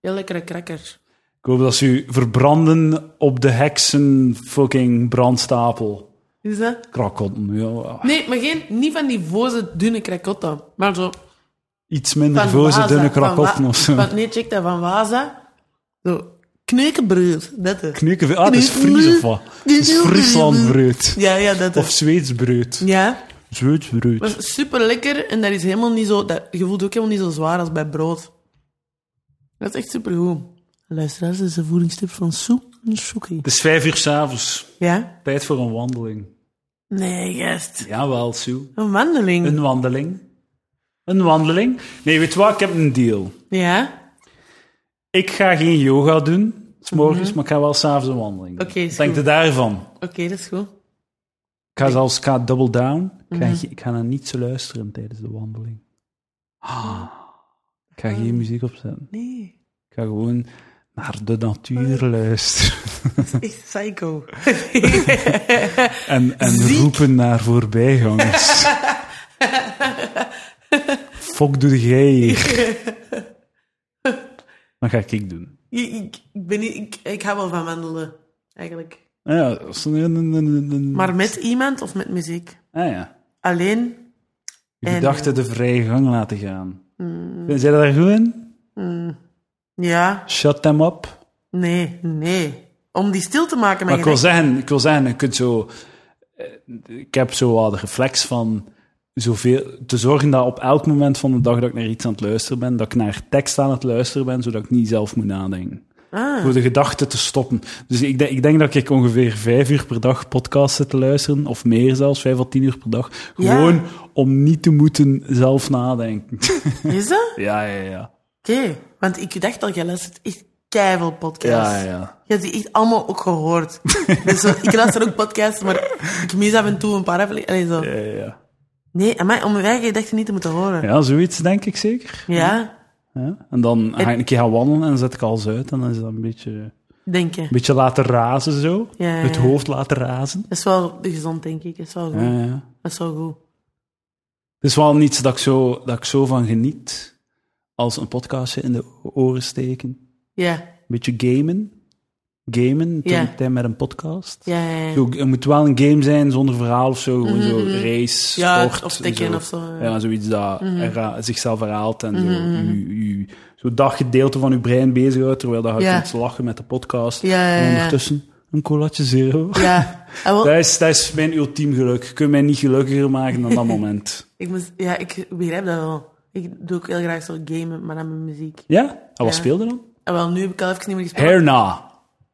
Speaker 2: heel lekkere crackers.
Speaker 1: Ik hoop dat ze u verbranden op de heksen fucking brandstapel.
Speaker 2: Is dat?
Speaker 1: Krakotten, ja.
Speaker 2: Dus, eh, Nee, maar geen, niet van die voze dunne cracotta. Maar zo
Speaker 1: Iets minder
Speaker 2: van
Speaker 1: voor
Speaker 2: Waza,
Speaker 1: ze dunne
Speaker 2: van Wa-
Speaker 1: krakotten of zo.
Speaker 2: Van, nee, check dat, van Waza. Zo, kneukenbreud, dat is.
Speaker 1: Knukken, ah, dat is Fries of wat? Dat is Frieslandbreud.
Speaker 2: Ja, ja, dat
Speaker 1: Of
Speaker 2: is.
Speaker 1: Zweedsbreud.
Speaker 2: Ja,
Speaker 1: Zweedsbreud.
Speaker 2: maar super lekker en dat is helemaal niet zo, dat, je voelt ook helemaal niet zo zwaar als bij brood. Dat is echt super goed. Luisteraars, dit is de voedingstip van Soe en Soekie.
Speaker 1: Het is vijf uur s'avonds.
Speaker 2: Ja?
Speaker 1: Tijd voor een wandeling.
Speaker 2: Nee, gast.
Speaker 1: Jawel, Sue.
Speaker 2: Een wandeling.
Speaker 1: Een wandeling. Een wandeling. Nee, weet je wat? Ik heb een deal.
Speaker 2: Ja?
Speaker 1: Ik ga geen yoga doen, s morgens, maar ik ga wel s'avonds een wandeling doen.
Speaker 2: Mhm. Oké,
Speaker 1: Wat
Speaker 2: is
Speaker 1: Denk
Speaker 2: goed.
Speaker 1: je daarvan?
Speaker 2: Oké, dat is goed.
Speaker 1: Ik ga zelfs ik ga double down. Ik
Speaker 2: Mhm.
Speaker 1: ga, ge- ik ga naar niets luisteren tijdens de wandeling. Ah. Ik ga
Speaker 2: Ah.
Speaker 1: geen muziek opzetten.
Speaker 2: Nee,
Speaker 1: Ik ga gewoon naar de
Speaker 2: Ah.
Speaker 1: natuur luisteren.
Speaker 2: dat is echt psycho.
Speaker 1: En, en
Speaker 2: Ziek.
Speaker 1: roepen naar voorbijgangers. Fok doe jij hier. Dat ga ik doen.
Speaker 2: Ik, ik, ik ben niet, ik, ik hou wel van wandelen, eigenlijk.
Speaker 1: Ah Ja, dat is een- een- een- een- een-
Speaker 2: Maar met iemand of met muziek?
Speaker 1: Ah ja.
Speaker 2: Alleen?
Speaker 1: Je
Speaker 2: En- Hmm.
Speaker 1: gedachten de vrije gang laten gaan. Zijn zij daar goed in?
Speaker 2: Ja,
Speaker 1: Shut them up.
Speaker 2: nee, nee. Om die stil te maken, maar,
Speaker 1: Maar ik wil
Speaker 2: je
Speaker 1: zeggen, ik wil zeggen, je kunt zo... eh, Ik heb zo wel de reflex van zoveel, te zorgen dat op elk moment van de dag dat ik naar iets aan het luisteren ben, dat ik naar tekst aan het luisteren ben, zodat ik niet zelf moet nadenken.
Speaker 2: Ah.
Speaker 1: Voor de gedachten te stoppen. Dus ik, denk- ik denk dat ik ongeveer vijf uur per dag podcasts zit te luisteren, of meer zelfs, vijf à tien uur per dag.
Speaker 2: Ja.
Speaker 1: Gewoon om niet te moeten zelf nadenken.
Speaker 2: denkt, is dat?
Speaker 1: ja, ja, ja.
Speaker 2: Oké, want ik dacht al, jij luistert echt keivel podcasts.
Speaker 1: Ja, ja.
Speaker 2: Je hebt die echt allemaal ook gehoord. dus zo, ik luister ook podcasts, maar ik mis af en toe een paar afleveringen. Allee, zo.
Speaker 1: Ja, ja, ja.
Speaker 2: Nee, amai, om mijn eigen gedachten niet te moeten horen. Ja?
Speaker 1: Ja, zoiets denk ik zeker. Ja. En dan ga ik een keer gaan wandelen en dan zet ik alles uit. En dan is dat een beetje, een
Speaker 2: denk je.
Speaker 1: beetje laten razen zo.
Speaker 2: Ja, ja, ja.
Speaker 1: Het hoofd laten razen.
Speaker 2: Dat is wel gezond, denk ik. Dat is wel goed.
Speaker 1: Ja, ja.
Speaker 2: Dat is wel goed.
Speaker 1: Het is wel niets dat ik, zo, dat ik zo van geniet. Als een podcastje in de oren steken. Een
Speaker 2: Ja,
Speaker 1: beetje gamen. Gamen
Speaker 2: Ja.
Speaker 1: tegelijkertijd met een podcast.
Speaker 2: ja, ja. ja.
Speaker 1: Zo, het moet wel een game zijn zonder verhaal of zo. Gewoon zo race,
Speaker 2: Mhm. Ja,
Speaker 1: sport.
Speaker 2: of Tekken
Speaker 1: zo.
Speaker 2: of zo, ja. Mhm.
Speaker 1: Ja, zoiets dat herha- zichzelf herhaalt en zo, u, u, zo dat gedeelte van uw brein bezighoudt, terwijl dat je
Speaker 2: Ja.
Speaker 1: kunt lachen met de podcast.
Speaker 2: Ja, ja,
Speaker 1: En
Speaker 2: ja.
Speaker 1: ondertussen een colatje zero.
Speaker 2: Ja, Ah, wel,
Speaker 1: Dat is, dat is mijn ultiem geluk. Je kunt mij niet gelukkiger maken dan dat moment.
Speaker 2: ik, moest, ja, ik begrijp dat wel. Ik doe ook heel graag zo gamen, maar dan met muziek. Ah,
Speaker 1: Ja? En wat
Speaker 2: Ja.
Speaker 1: speelde dan?
Speaker 2: En wel, nu heb ik al even niet meer gespeeld.
Speaker 1: Herna.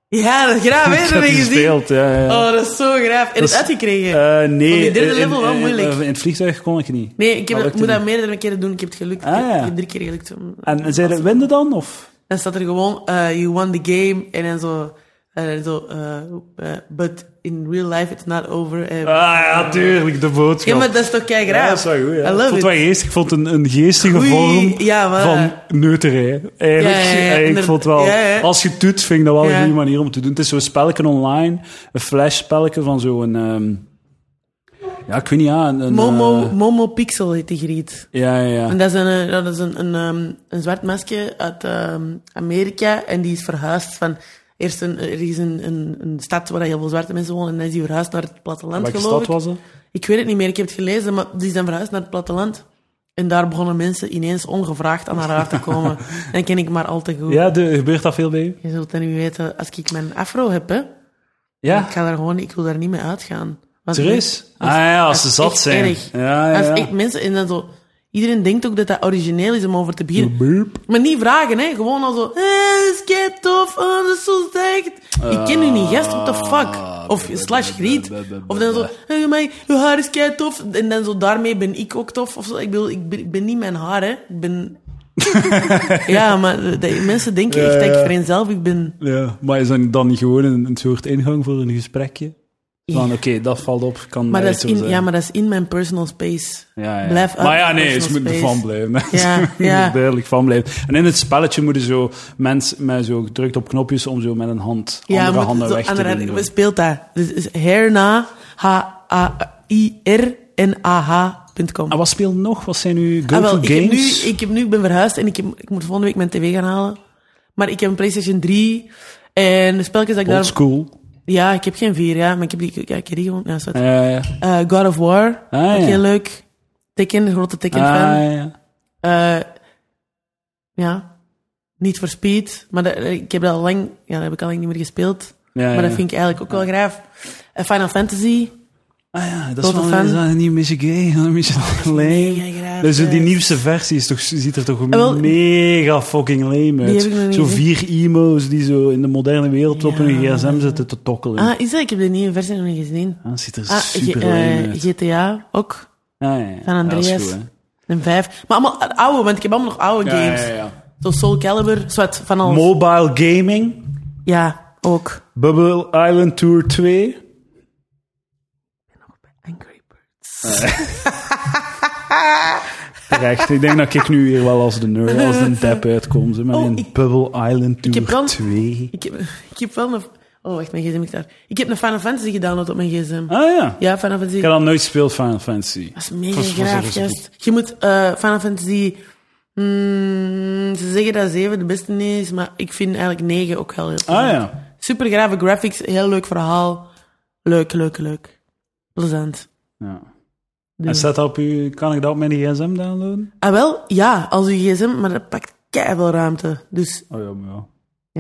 Speaker 2: Ja, dat graaf, hè?
Speaker 1: Ik
Speaker 2: Dat
Speaker 1: heb
Speaker 2: heb je
Speaker 1: die
Speaker 2: gezien.
Speaker 1: gespeeld. ja, ja.
Speaker 2: Oh, dat is zo graaf. En
Speaker 1: Dat
Speaker 2: het
Speaker 1: is-
Speaker 2: uitgekregen.
Speaker 1: Eh, nee,
Speaker 2: Vond die derde
Speaker 1: in-
Speaker 2: level wel
Speaker 1: in- eh,
Speaker 2: moeilijk.
Speaker 1: In, in het vliegtuig kon ik niet.
Speaker 2: nee, ik, heb,
Speaker 1: dat
Speaker 2: dat-
Speaker 1: lukte
Speaker 2: moet dat
Speaker 1: niet.
Speaker 2: meerdere keren doen. Ik heb het gelukt.
Speaker 1: Ah,
Speaker 2: Ik heb-
Speaker 1: ja.
Speaker 2: Ik heb drie keer gelukt.
Speaker 1: En, en zeiden, winnen dan? Of?
Speaker 2: Dan staat er gewoon, eh, you won the game. En dan zo, eh, zo eh, eh, but in real life it's not over. Eh,
Speaker 1: Ah ja, tuurlijk, de boodschap.
Speaker 2: ja, maar dat is toch kei
Speaker 1: Ja,
Speaker 2: graaf.
Speaker 1: dat is wel goed, ja.
Speaker 2: I
Speaker 1: ik
Speaker 2: love
Speaker 1: vond het
Speaker 2: it.
Speaker 1: wel geestig. Ik vond het een, een geestige
Speaker 2: Goeie-
Speaker 1: vorm
Speaker 2: ja, maar-
Speaker 1: van neuterij. Eigenlijk,
Speaker 2: Ja, ja, ja,
Speaker 1: ik
Speaker 2: inderdaad.
Speaker 1: vond het wel...
Speaker 2: Ja, ja.
Speaker 1: Als je het doet, vind ik dat wel een
Speaker 2: Ja.
Speaker 1: goede manier om te doen. Het is zo'n spelletje online. Een flashspelletje van zo'n... ehm, ja, ik weet niet, ja. Een, een,
Speaker 2: Momo,
Speaker 1: eh,
Speaker 2: Momo Pixel heet die griet.
Speaker 1: ja, ja,
Speaker 2: En
Speaker 1: ja.
Speaker 2: dat is een, eh, ja, dat is een, een, ehm, een zwart mesje uit ehm, Amerika. En die is verhuisd van... Eerst een, er is een, een, een stad waar heel veel zwarte mensen wonen. En dan is die verhuisd naar het platteland,
Speaker 1: Welke
Speaker 2: geloof
Speaker 1: stad
Speaker 2: ik.
Speaker 1: was dat?
Speaker 2: Ik weet het niet meer, ik heb het gelezen, maar die zijn verhuisd naar het platteland. En daar begonnen mensen ineens ongevraagd aan haar haar te komen. en ken ik maar al te goed.
Speaker 1: Ja, de, gebeurt dat veel bij u?
Speaker 2: Je zult dat niet weten, als ik mijn afro heb, hè,
Speaker 1: Ja?
Speaker 2: ik, ga daar gewoon, ik wil daar niet mee uitgaan. Want
Speaker 1: Serieus?
Speaker 2: dat
Speaker 1: Ah ja, als
Speaker 2: dat
Speaker 1: ze
Speaker 2: is
Speaker 1: zat
Speaker 2: echt
Speaker 1: zijn.
Speaker 2: erg.
Speaker 1: Ja, ja,
Speaker 2: Als
Speaker 1: ja.
Speaker 2: echt mensen, en dan zo, iedereen denkt ook dat dat origineel is om over te beginnen.
Speaker 1: Boep.
Speaker 2: Maar niet vragen, hè. Gewoon al zo... Hé, is kei tof. Oh, dat is zo slecht. Ik ken u niet, gast. What the
Speaker 1: Ah,
Speaker 2: fuck? Of slash griet. Of dan zo... Hé, mij, je haar is kei tof. En dan zo, daarmee ben ik ook tof. Of zo. Ik bedoel, ik ben, ik ben niet mijn haar, hè. Ik ben... ja, maar de, de- mensen denken echt dat
Speaker 1: Ja, ja.
Speaker 2: ik vereenzelvig ben.
Speaker 1: Ja, maar is dat dan niet gewoon een, een soort ingang voor een gesprekje? Van, oké, dat valt op, kan
Speaker 2: Maar
Speaker 1: mij
Speaker 2: dat is
Speaker 1: zo
Speaker 2: in,
Speaker 1: zijn.
Speaker 2: ja, maar dat is in mijn personal space.
Speaker 1: Ja, ja.
Speaker 2: Blijf uit
Speaker 1: Maar ja,
Speaker 2: mijn
Speaker 1: nee, ze
Speaker 2: personal
Speaker 1: moeten
Speaker 2: space.
Speaker 1: ervan blijven.
Speaker 2: Ja,
Speaker 1: Ze moeten
Speaker 2: ja.
Speaker 1: er duidelijk van blijven. En in het spelletje moeten zo mensen met zo gedrukt op knopjes om zo met een hand
Speaker 2: Ja,
Speaker 1: andere
Speaker 2: maar
Speaker 1: handen
Speaker 2: zo
Speaker 1: weg te
Speaker 2: andere-
Speaker 1: doen.
Speaker 2: we speelt dat. Dus is herna, H-A-I-R-N-A-H.com.
Speaker 1: En wat speelt nog? Wat zijn uw
Speaker 2: Ah,
Speaker 1: go-to
Speaker 2: wel, ik, heb nu,
Speaker 1: Ah, games?
Speaker 2: ik, heb nu, ik ben verhuisd en ik, heb- ik moet volgende week mijn tv gaan halen. Maar ik heb een PlayStation 3 en de spelletjes dat
Speaker 1: Old
Speaker 2: ik daar...
Speaker 1: school.
Speaker 2: Ja, ik heb geen 4, ja, maar ik heb die, ja, ik heb die gewoon... Ja, sorry.
Speaker 1: Ja, ja.
Speaker 2: Eh, God of War,
Speaker 1: Ah,
Speaker 2: ook
Speaker 1: ja.
Speaker 2: heel leuk. Tekken, grote
Speaker 1: Ah,
Speaker 2: Tekken-fan.
Speaker 1: ja.
Speaker 2: Eh, ja, niet voor Speed, maar dat- eh, ik heb dat al lang... Ja, dat heb ik al lang niet meer gespeeld.
Speaker 1: Ja,
Speaker 2: maar dat
Speaker 1: Ah, ja.
Speaker 2: vind ik eigenlijk ook wel graaf. Eh, Final Fantasy,
Speaker 1: Ah ja, dat is
Speaker 2: Grote
Speaker 1: wel
Speaker 2: fan.
Speaker 1: is dat een nieuwe Missy Gay, een Missy Lame.
Speaker 2: mega graaf,
Speaker 1: Dus die
Speaker 2: ja.
Speaker 1: nieuwste versie is toch, ziet er toch
Speaker 2: wel,
Speaker 1: mega fucking lame
Speaker 2: heb ik nog
Speaker 1: uit.
Speaker 2: niet
Speaker 1: Zo
Speaker 2: gezien.
Speaker 1: vier emo's die zo in de moderne wereld op
Speaker 2: Ja.
Speaker 1: hun gsm zitten te tokkelen. Ah,
Speaker 2: Ah, is dat? Ik heb de nieuwe versie nog niet gezien.
Speaker 1: dat ziet er
Speaker 2: Ah,
Speaker 1: super
Speaker 2: G-
Speaker 1: lame
Speaker 2: eh,
Speaker 1: uit.
Speaker 2: GTA ook.
Speaker 1: Ja, ja, ja.
Speaker 2: San Andreas.
Speaker 1: Ja, dat is goed, hè.
Speaker 2: Een vijf. Maar allemaal oude, want ik heb allemaal nog oude
Speaker 1: Ja,
Speaker 2: games.
Speaker 1: ja, ja.
Speaker 2: Zo Soul Calibur, zwart van alles.
Speaker 1: Mobile gaming,
Speaker 2: ja, ook.
Speaker 1: Bubble Island Tour 2.
Speaker 2: Angry Birds.
Speaker 1: Terecht, ik denk dat ik nu hier wel als de nerd, als de dep uitkom. Ze, maar
Speaker 2: Oh,
Speaker 1: in
Speaker 2: ik-
Speaker 1: Bubble Island Tour
Speaker 2: heb wel-
Speaker 1: 2.
Speaker 2: Ik heb, ik heb wel een... Oh, echt, mijn gsm is daar. Ik heb een Final Fantasy gedownload op mijn gsm.
Speaker 1: Ah ja,
Speaker 2: Ja, Final Fantasy.
Speaker 1: ik heb al nooit gespeeld Final Fantasy.
Speaker 2: Dat is mega
Speaker 1: Was- was- was-
Speaker 2: graaf,
Speaker 1: was-
Speaker 2: juist. Je moet eh Final Fantasy... mm, ze zeggen dat 7 de beste is, maar ik vind eigenlijk 9 ook wel heel
Speaker 1: Ah
Speaker 2: plezant.
Speaker 1: ja,
Speaker 2: Super grave graphics, heel leuk verhaal. Leuk, leuk, leuk. Plezant.
Speaker 1: ja.
Speaker 2: Doen.
Speaker 1: En staat dat op u, kan ik dat op mijn gsm downloaden?
Speaker 2: Ah, wel, ja, als uw gsm, maar dat pakt keihard veel ruimte. Dus
Speaker 1: Oh ja, maar ja.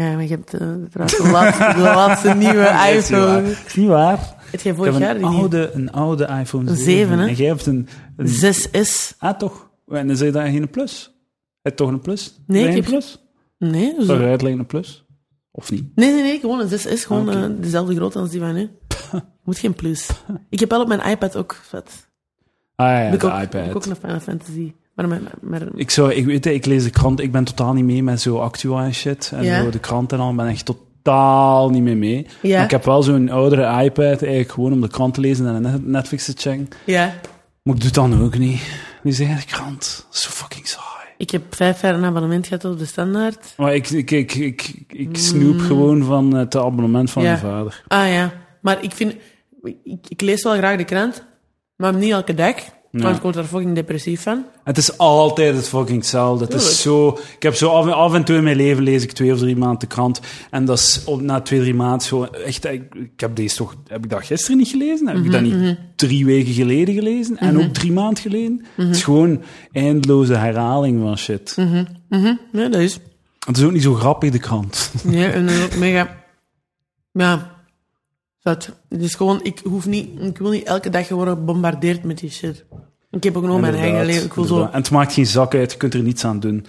Speaker 2: ja, maar je hebt eh, trouwens de laatste, de laatste nieuwe
Speaker 1: Dat is niet waar.
Speaker 2: iPhone.
Speaker 1: Dat is niet waar.
Speaker 2: Het jij
Speaker 1: Ik
Speaker 2: Ah, vorig
Speaker 1: heb
Speaker 2: jaar
Speaker 1: een
Speaker 2: die nieuwe
Speaker 1: oude, een oude iPhone 7.
Speaker 2: Zeven, hè?
Speaker 1: En jij hebt een, een
Speaker 2: 6S.
Speaker 1: Ah, toch? En dan zei je daar geen plus. Heb je toch een plus?
Speaker 2: Nee,
Speaker 1: Heb je
Speaker 2: ik
Speaker 1: een
Speaker 2: heb-
Speaker 1: plus?
Speaker 2: Nee, hoezo?
Speaker 1: Zou je uitleggen een plus? Of niet?
Speaker 2: Nee, nee, nee, gewoon een 6S. Gewoon
Speaker 1: Oké.
Speaker 2: eh, dezelfde grootte als die van nu. Moet geen plus. Ik heb wel op mijn iPad ook vet.
Speaker 1: Ah ja,
Speaker 2: ik
Speaker 1: de
Speaker 2: ook,
Speaker 1: iPad.
Speaker 2: heb ik ook nog Final Fantasy. Maar met, met, met-
Speaker 1: Ik, zou, ik weet het, ik lees de krant. Ik ben totaal niet mee met zo actua en shit. En
Speaker 2: Ja.
Speaker 1: zo de krant en al. Ik ben echt totaal niet meer mee.
Speaker 2: Ja.
Speaker 1: Maar ik heb wel zo'n oudere iPad eigenlijk gewoon om de krant te lezen en net- Netflix te checken.
Speaker 2: Ja.
Speaker 1: Maar ik doe het dan ook niet. Nu zeg de krant. Zo fucking saai.
Speaker 2: Ik heb vijf jaar een abonnement gehad op de standaard.
Speaker 1: Maar ik, ik, ik, ik, ik snoep gewoon van het abonnement van
Speaker 2: Mm. Ja.
Speaker 1: mijn vader.
Speaker 2: Ah ja, maar ik vind... Ik, ik lees wel graag de krant, maar niet elke dag. Want ik word daar fucking depressief van.
Speaker 1: Het is altijd het fucking hetzelfde. Het is
Speaker 2: Tuurlijk.
Speaker 1: zo... Ik heb zo af, af en toe in mijn leven lees ik twee of drie maanden de krant. En dat is op, na twee, drie maanden zo... Echt, ik, ik heb deze toch... Heb ik dat gisteren niet gelezen? Heb ik dat niet drie weken geleden gelezen? En ook drie maanden geleden? Het is gewoon eindeloze herhaling van shit.
Speaker 2: Ja, dat is...
Speaker 1: Het is ook niet zo grappig, de krant.
Speaker 2: Nee, en dat is ook mega... Ja. Dat. Dus gewoon, ik hoef niet... Ik wil niet elke dag worden gebombardeerd met die shit. Ik heb ook nog mijn eigen
Speaker 1: Inderdaad,
Speaker 2: leven. Ik wil
Speaker 1: inderdaad.
Speaker 2: zo...
Speaker 1: En het maakt geen zak uit. Je kunt er niets aan doen.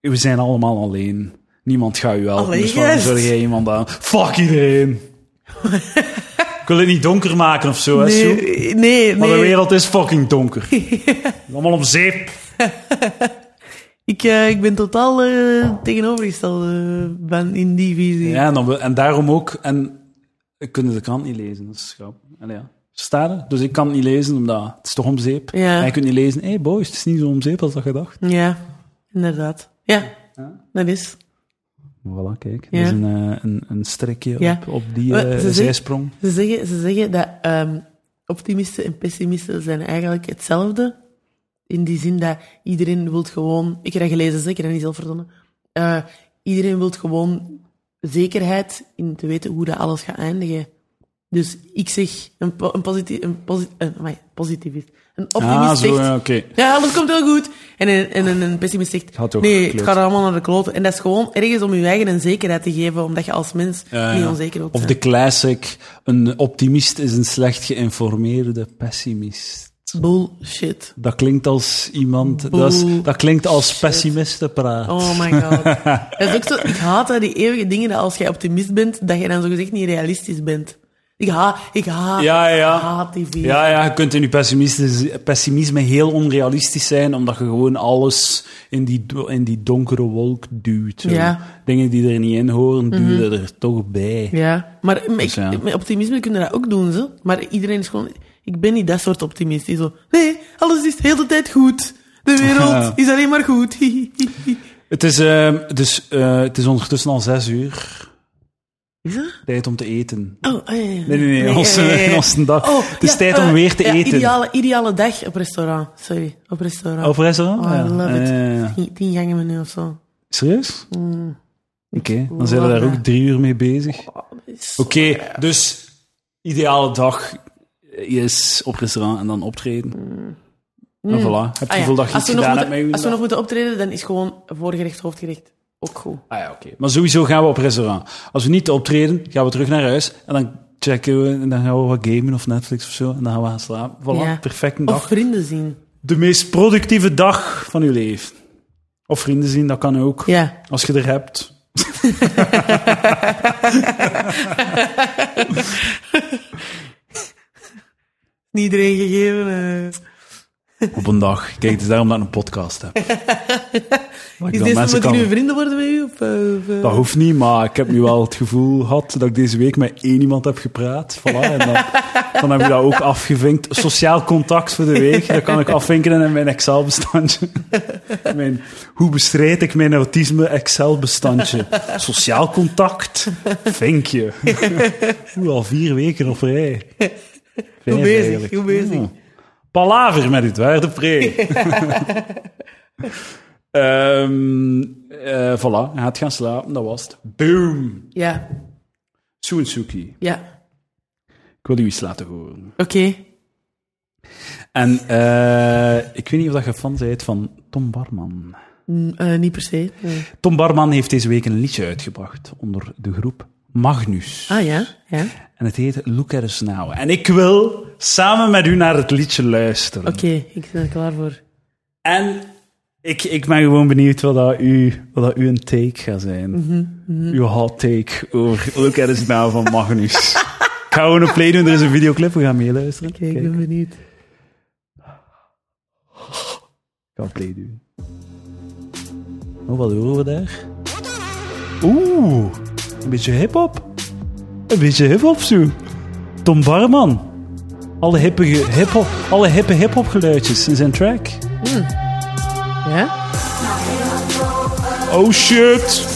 Speaker 1: We zijn allemaal alleen. Niemand gaat u helpen.
Speaker 2: Allee,
Speaker 1: dus waarom
Speaker 2: juist.
Speaker 1: zou jij iemand aan? Fuck iedereen. ik wil het niet donker maken of zo, hè,
Speaker 2: Nee,
Speaker 1: Sue?
Speaker 2: nee, nee.
Speaker 1: Maar de wereld is fucking donker. Allemaal om zeep.
Speaker 2: Ik, eh, ik ben totaal eh, tegenovergesteld eh, van in die visie.
Speaker 1: Ja, en, dan, we- en daarom ook. En we kunnen de krant niet lezen, dat is grap. Allee, ja. Versta je? Dus ik kan het niet lezen, omdat het is toch om zeep.
Speaker 2: Ja.
Speaker 1: En je kunt niet lezen, hé hey boys, het is niet zo om zeep als dat gedacht.
Speaker 2: Ja, inderdaad. Ja,
Speaker 1: Ja.
Speaker 2: dat is.
Speaker 1: Voilà, kijk.
Speaker 2: Ja.
Speaker 1: Er is een, eh, een, een strikje
Speaker 2: Ja.
Speaker 1: op, op die
Speaker 2: Maar
Speaker 1: eh,
Speaker 2: ze zeggen-
Speaker 1: zijsprong.
Speaker 2: Ze zeggen, ze zeggen dat ehm, optimisten en pessimisten zijn eigenlijk hetzelfde. In die zin dat iedereen wil gewoon... Ik heb dat gelezen, dus ik heb dat niet zelf verzonnen. Eh, iedereen wil gewoon zekerheid in te weten hoe dat alles gaat eindigen. Dus ik zeg, een, po- een, positief, een, posi- een amai, positivist, een optimist
Speaker 1: Ah, zo,
Speaker 2: zegt-
Speaker 1: ja, oké.
Speaker 2: Ja, alles komt heel goed. En een, en een, een pessimist zegt,
Speaker 1: Gaat ook
Speaker 2: nee, het
Speaker 1: gekleurd.
Speaker 2: gaat allemaal naar de kloten. En dat is gewoon ergens om je eigen een zekerheid te geven, omdat je als mens
Speaker 1: Ja,
Speaker 2: niet
Speaker 1: ja.
Speaker 2: onzeker wilt
Speaker 1: Of
Speaker 2: zijn.
Speaker 1: de classic, een optimist is een slecht geïnformeerde pessimist.
Speaker 2: Bullshit.
Speaker 1: Dat klinkt als iemand, dat, is- dat klinkt als pessimistenpraat.
Speaker 2: Oh my god. dat is ook zo, ik haat dat, die eeuwige dingen, dat als jij optimist bent, dat je dan zogezegd niet realistisch bent. Ik haat, ik haat,
Speaker 1: Ja, ja.
Speaker 2: ik haat die vier.
Speaker 1: Ja, ja, je kunt in je pessimisme, pessimisme heel onrealistisch zijn, omdat je gewoon alles in die, do- in die donkere wolk duwt. zo.
Speaker 2: Ja. Mhm.
Speaker 1: Dingen die er niet in horen, duw je er toch bij.
Speaker 2: Ja, maar met,
Speaker 1: Dus ja.
Speaker 2: met optimisme kunnen we dat ook doen, zo. Maar iedereen is gewoon... Ik ben niet dat soort optimist die zo... Nee, alles is de hele tijd goed. De wereld
Speaker 1: Ja.
Speaker 2: is alleen maar goed.
Speaker 1: Het, is, ehm, dus, eh, het is ondertussen al zes uur,
Speaker 2: Is dat?
Speaker 1: tijd om te eten.
Speaker 2: Oh, ah, ja, ja.
Speaker 1: Nee, nee, nee, onze,
Speaker 2: ja, ja, ja.
Speaker 1: onze dag.
Speaker 2: Oh,
Speaker 1: het is
Speaker 2: ja,
Speaker 1: tijd
Speaker 2: eh,
Speaker 1: om weer te
Speaker 2: ja,
Speaker 1: eten.
Speaker 2: Ideale, ideale dag op restaurant. Sorry, op restaurant.
Speaker 1: Op restaurant?
Speaker 2: Oh, I
Speaker 1: Ja.
Speaker 2: love it.
Speaker 1: Ah, Ja, ja, ja.
Speaker 2: Tien, tien gangen menu of zo.
Speaker 1: Serieus?
Speaker 2: Mm.
Speaker 1: Oké, dan zijn we daar ook drie uur mee bezig. Oké,
Speaker 2: Oh, dat is zo raar.
Speaker 1: dus ideale dag is op restaurant en dan optreden. En voilà, heb je
Speaker 2: Mm. Ah, ja.
Speaker 1: hoeveel dag je
Speaker 2: Als
Speaker 1: iets
Speaker 2: we nog
Speaker 1: gedaan hebt
Speaker 2: moeten-
Speaker 1: met je
Speaker 2: Als we
Speaker 1: dag?
Speaker 2: nog moeten optreden, dan is gewoon voorgerecht, hoofdgerecht ook goed.
Speaker 1: Ah ja, oké. Maar sowieso gaan we op restaurant. Als we niet optreden, gaan we terug naar huis en dan checken we en dan gaan we wat gamen of Netflix of zo en dan gaan we gaan slapen. Voilà,
Speaker 2: Ja.
Speaker 1: perfecte dag.
Speaker 2: Of vrienden zien.
Speaker 1: De meest productieve dag van uw leven. Of vrienden zien, dat kan ook.
Speaker 2: Ja.
Speaker 1: Als je er hebt.
Speaker 2: Niet iedereen gegeven. eh.
Speaker 1: Op een dag. Kijk, het is daarom dat ik een podcast heb. Dat ik
Speaker 2: Is
Speaker 1: dan
Speaker 2: deze,
Speaker 1: mensen
Speaker 2: moet ik
Speaker 1: kan-
Speaker 2: nu vrienden worden met u? Of, eh, of, eh?
Speaker 1: Dat hoeft niet, maar ik heb nu wel het gevoel gehad dat ik deze week met één iemand heb gepraat. Voilà, en dan, dan heb ik dat ook afgevinkt. Sociaal contact voor de week, dat kan ik afvinken in mijn Excel-bestandje. Mijn, hoe bestrijd ik mijn autisme Excel-bestandje? Sociaal contact, vinkje. Oeh, al vier weken op rij. Fijn
Speaker 2: bezig,
Speaker 1: eigenlijk.
Speaker 2: goed bezig.
Speaker 1: Oh. Palaver met het waarde pre. Ehm eh voilà, hij gaat gaan slapen, dat was het. Boom!
Speaker 2: Ja,
Speaker 1: Soensuki,
Speaker 2: ja.
Speaker 1: ik wil u iets laten horen.
Speaker 2: Oké.
Speaker 1: En eh, ik weet niet of dat je fan bent van Tom Barman.
Speaker 2: Mm, eh, niet per se. nee.
Speaker 1: Tom Barman heeft deze week een liedje uitgebracht onder de groep Magnus.
Speaker 2: Ah ja, ja.
Speaker 1: En het heet Look at Us Now. En ik wil samen met u naar het liedje luisteren.
Speaker 2: Oké, ik ben er klaar voor.
Speaker 1: En ik, ik ben gewoon benieuwd wat dat u, wat dat u een take gaat zijn. Uw hot take over Look at Us Now van Magnus. ik ga gewoon een play doen, er is een videoclip, we gaan meeluisteren.
Speaker 2: Oké, ik
Speaker 1: Kijk,
Speaker 2: ben benieuwd.
Speaker 1: ik ga een play doen. Oh, wat horen we daar? Oeh, een beetje hip-hop. Een beetje hip-hop, Sue. Tom Barman. Alle hippe, ge- hip-hop, alle hippe hip-hop geluidjes in zijn track.
Speaker 2: Ja?
Speaker 1: Oh shit!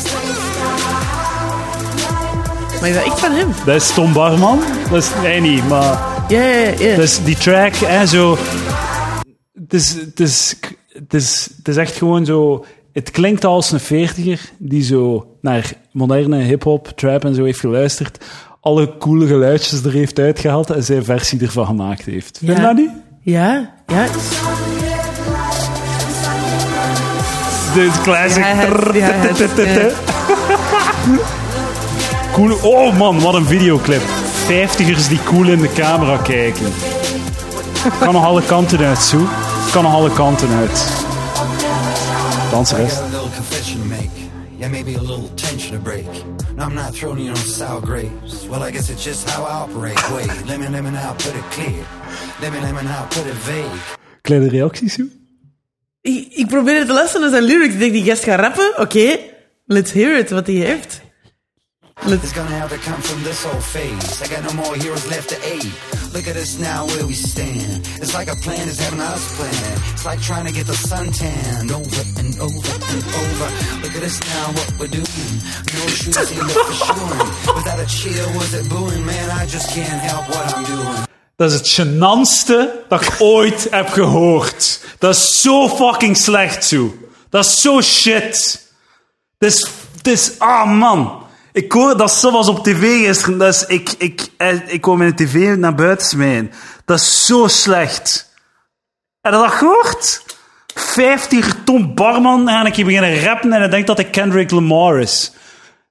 Speaker 2: Maar is dat echt van hem?
Speaker 1: Dat is Tom Barman. Dat is, nee, niet, maar...
Speaker 2: Ja, ja, ja.
Speaker 1: Dat is Dus die track, hè, zo... Het is, het, is, het, is, het is echt gewoon zo... Het klinkt als een veertiger die zo naar moderne hip-hop, trap en zo heeft geluisterd. Alle coole geluidjes er heeft uitgehaald en zijn versie ervan gemaakt heeft. Vind je
Speaker 2: Ja.
Speaker 1: dat niet?
Speaker 2: Ja, ja.
Speaker 1: De classic.
Speaker 2: Ja, het-
Speaker 1: Trrr,
Speaker 2: ja, het- eh,
Speaker 1: tut, tut, tut, tut. Cool. Oh man, wat een videoclip. Vijftigers die cool in de camera kijken. Kan nog alle kanten uit, Sue. Kan nog alle kanten uit. Danseres.
Speaker 4: I got a little confession to make. Yeah, maybe a little tension to break. No, I'm not throwing you on sour grapes. Well, I guess it's just how I operate. Wait, let me, let me now put it clear. Let me, let me now put it vague.
Speaker 1: Kleine reacties, joh.
Speaker 2: Ik, ik probeer te luisteren naar zijn lyrics. Ik denk, die gast gaat rappen. Oké, let's hear it, wat hij heeft.
Speaker 4: It's gonna have to come from this whole phase. I got no more heroes left to aid. Look at us now where we stand. It's like a plan is having us plan. It's like trying to get the sun tan over and over and over. Look at us now what we're doing. No shoes ain't for sure. Without a cheer, was it booing? Man, I just can't help what I'm doing.
Speaker 1: Dat is het gênantste dat ik ooit heb gehoord. Dat is zo fucking slecht, Sue. Dat is zo shit. Het is, het is, ah man. Ik hoor dat zoals op tv gisteren. Dat is, ik, ik, eh, ik kwam in de tv naar buiten smijten. Dat is zo slecht. Heb je dat gehoord? 50 ton barman en ik hier beginnen rappen en ik denk dat hij Kendrick Lamar is.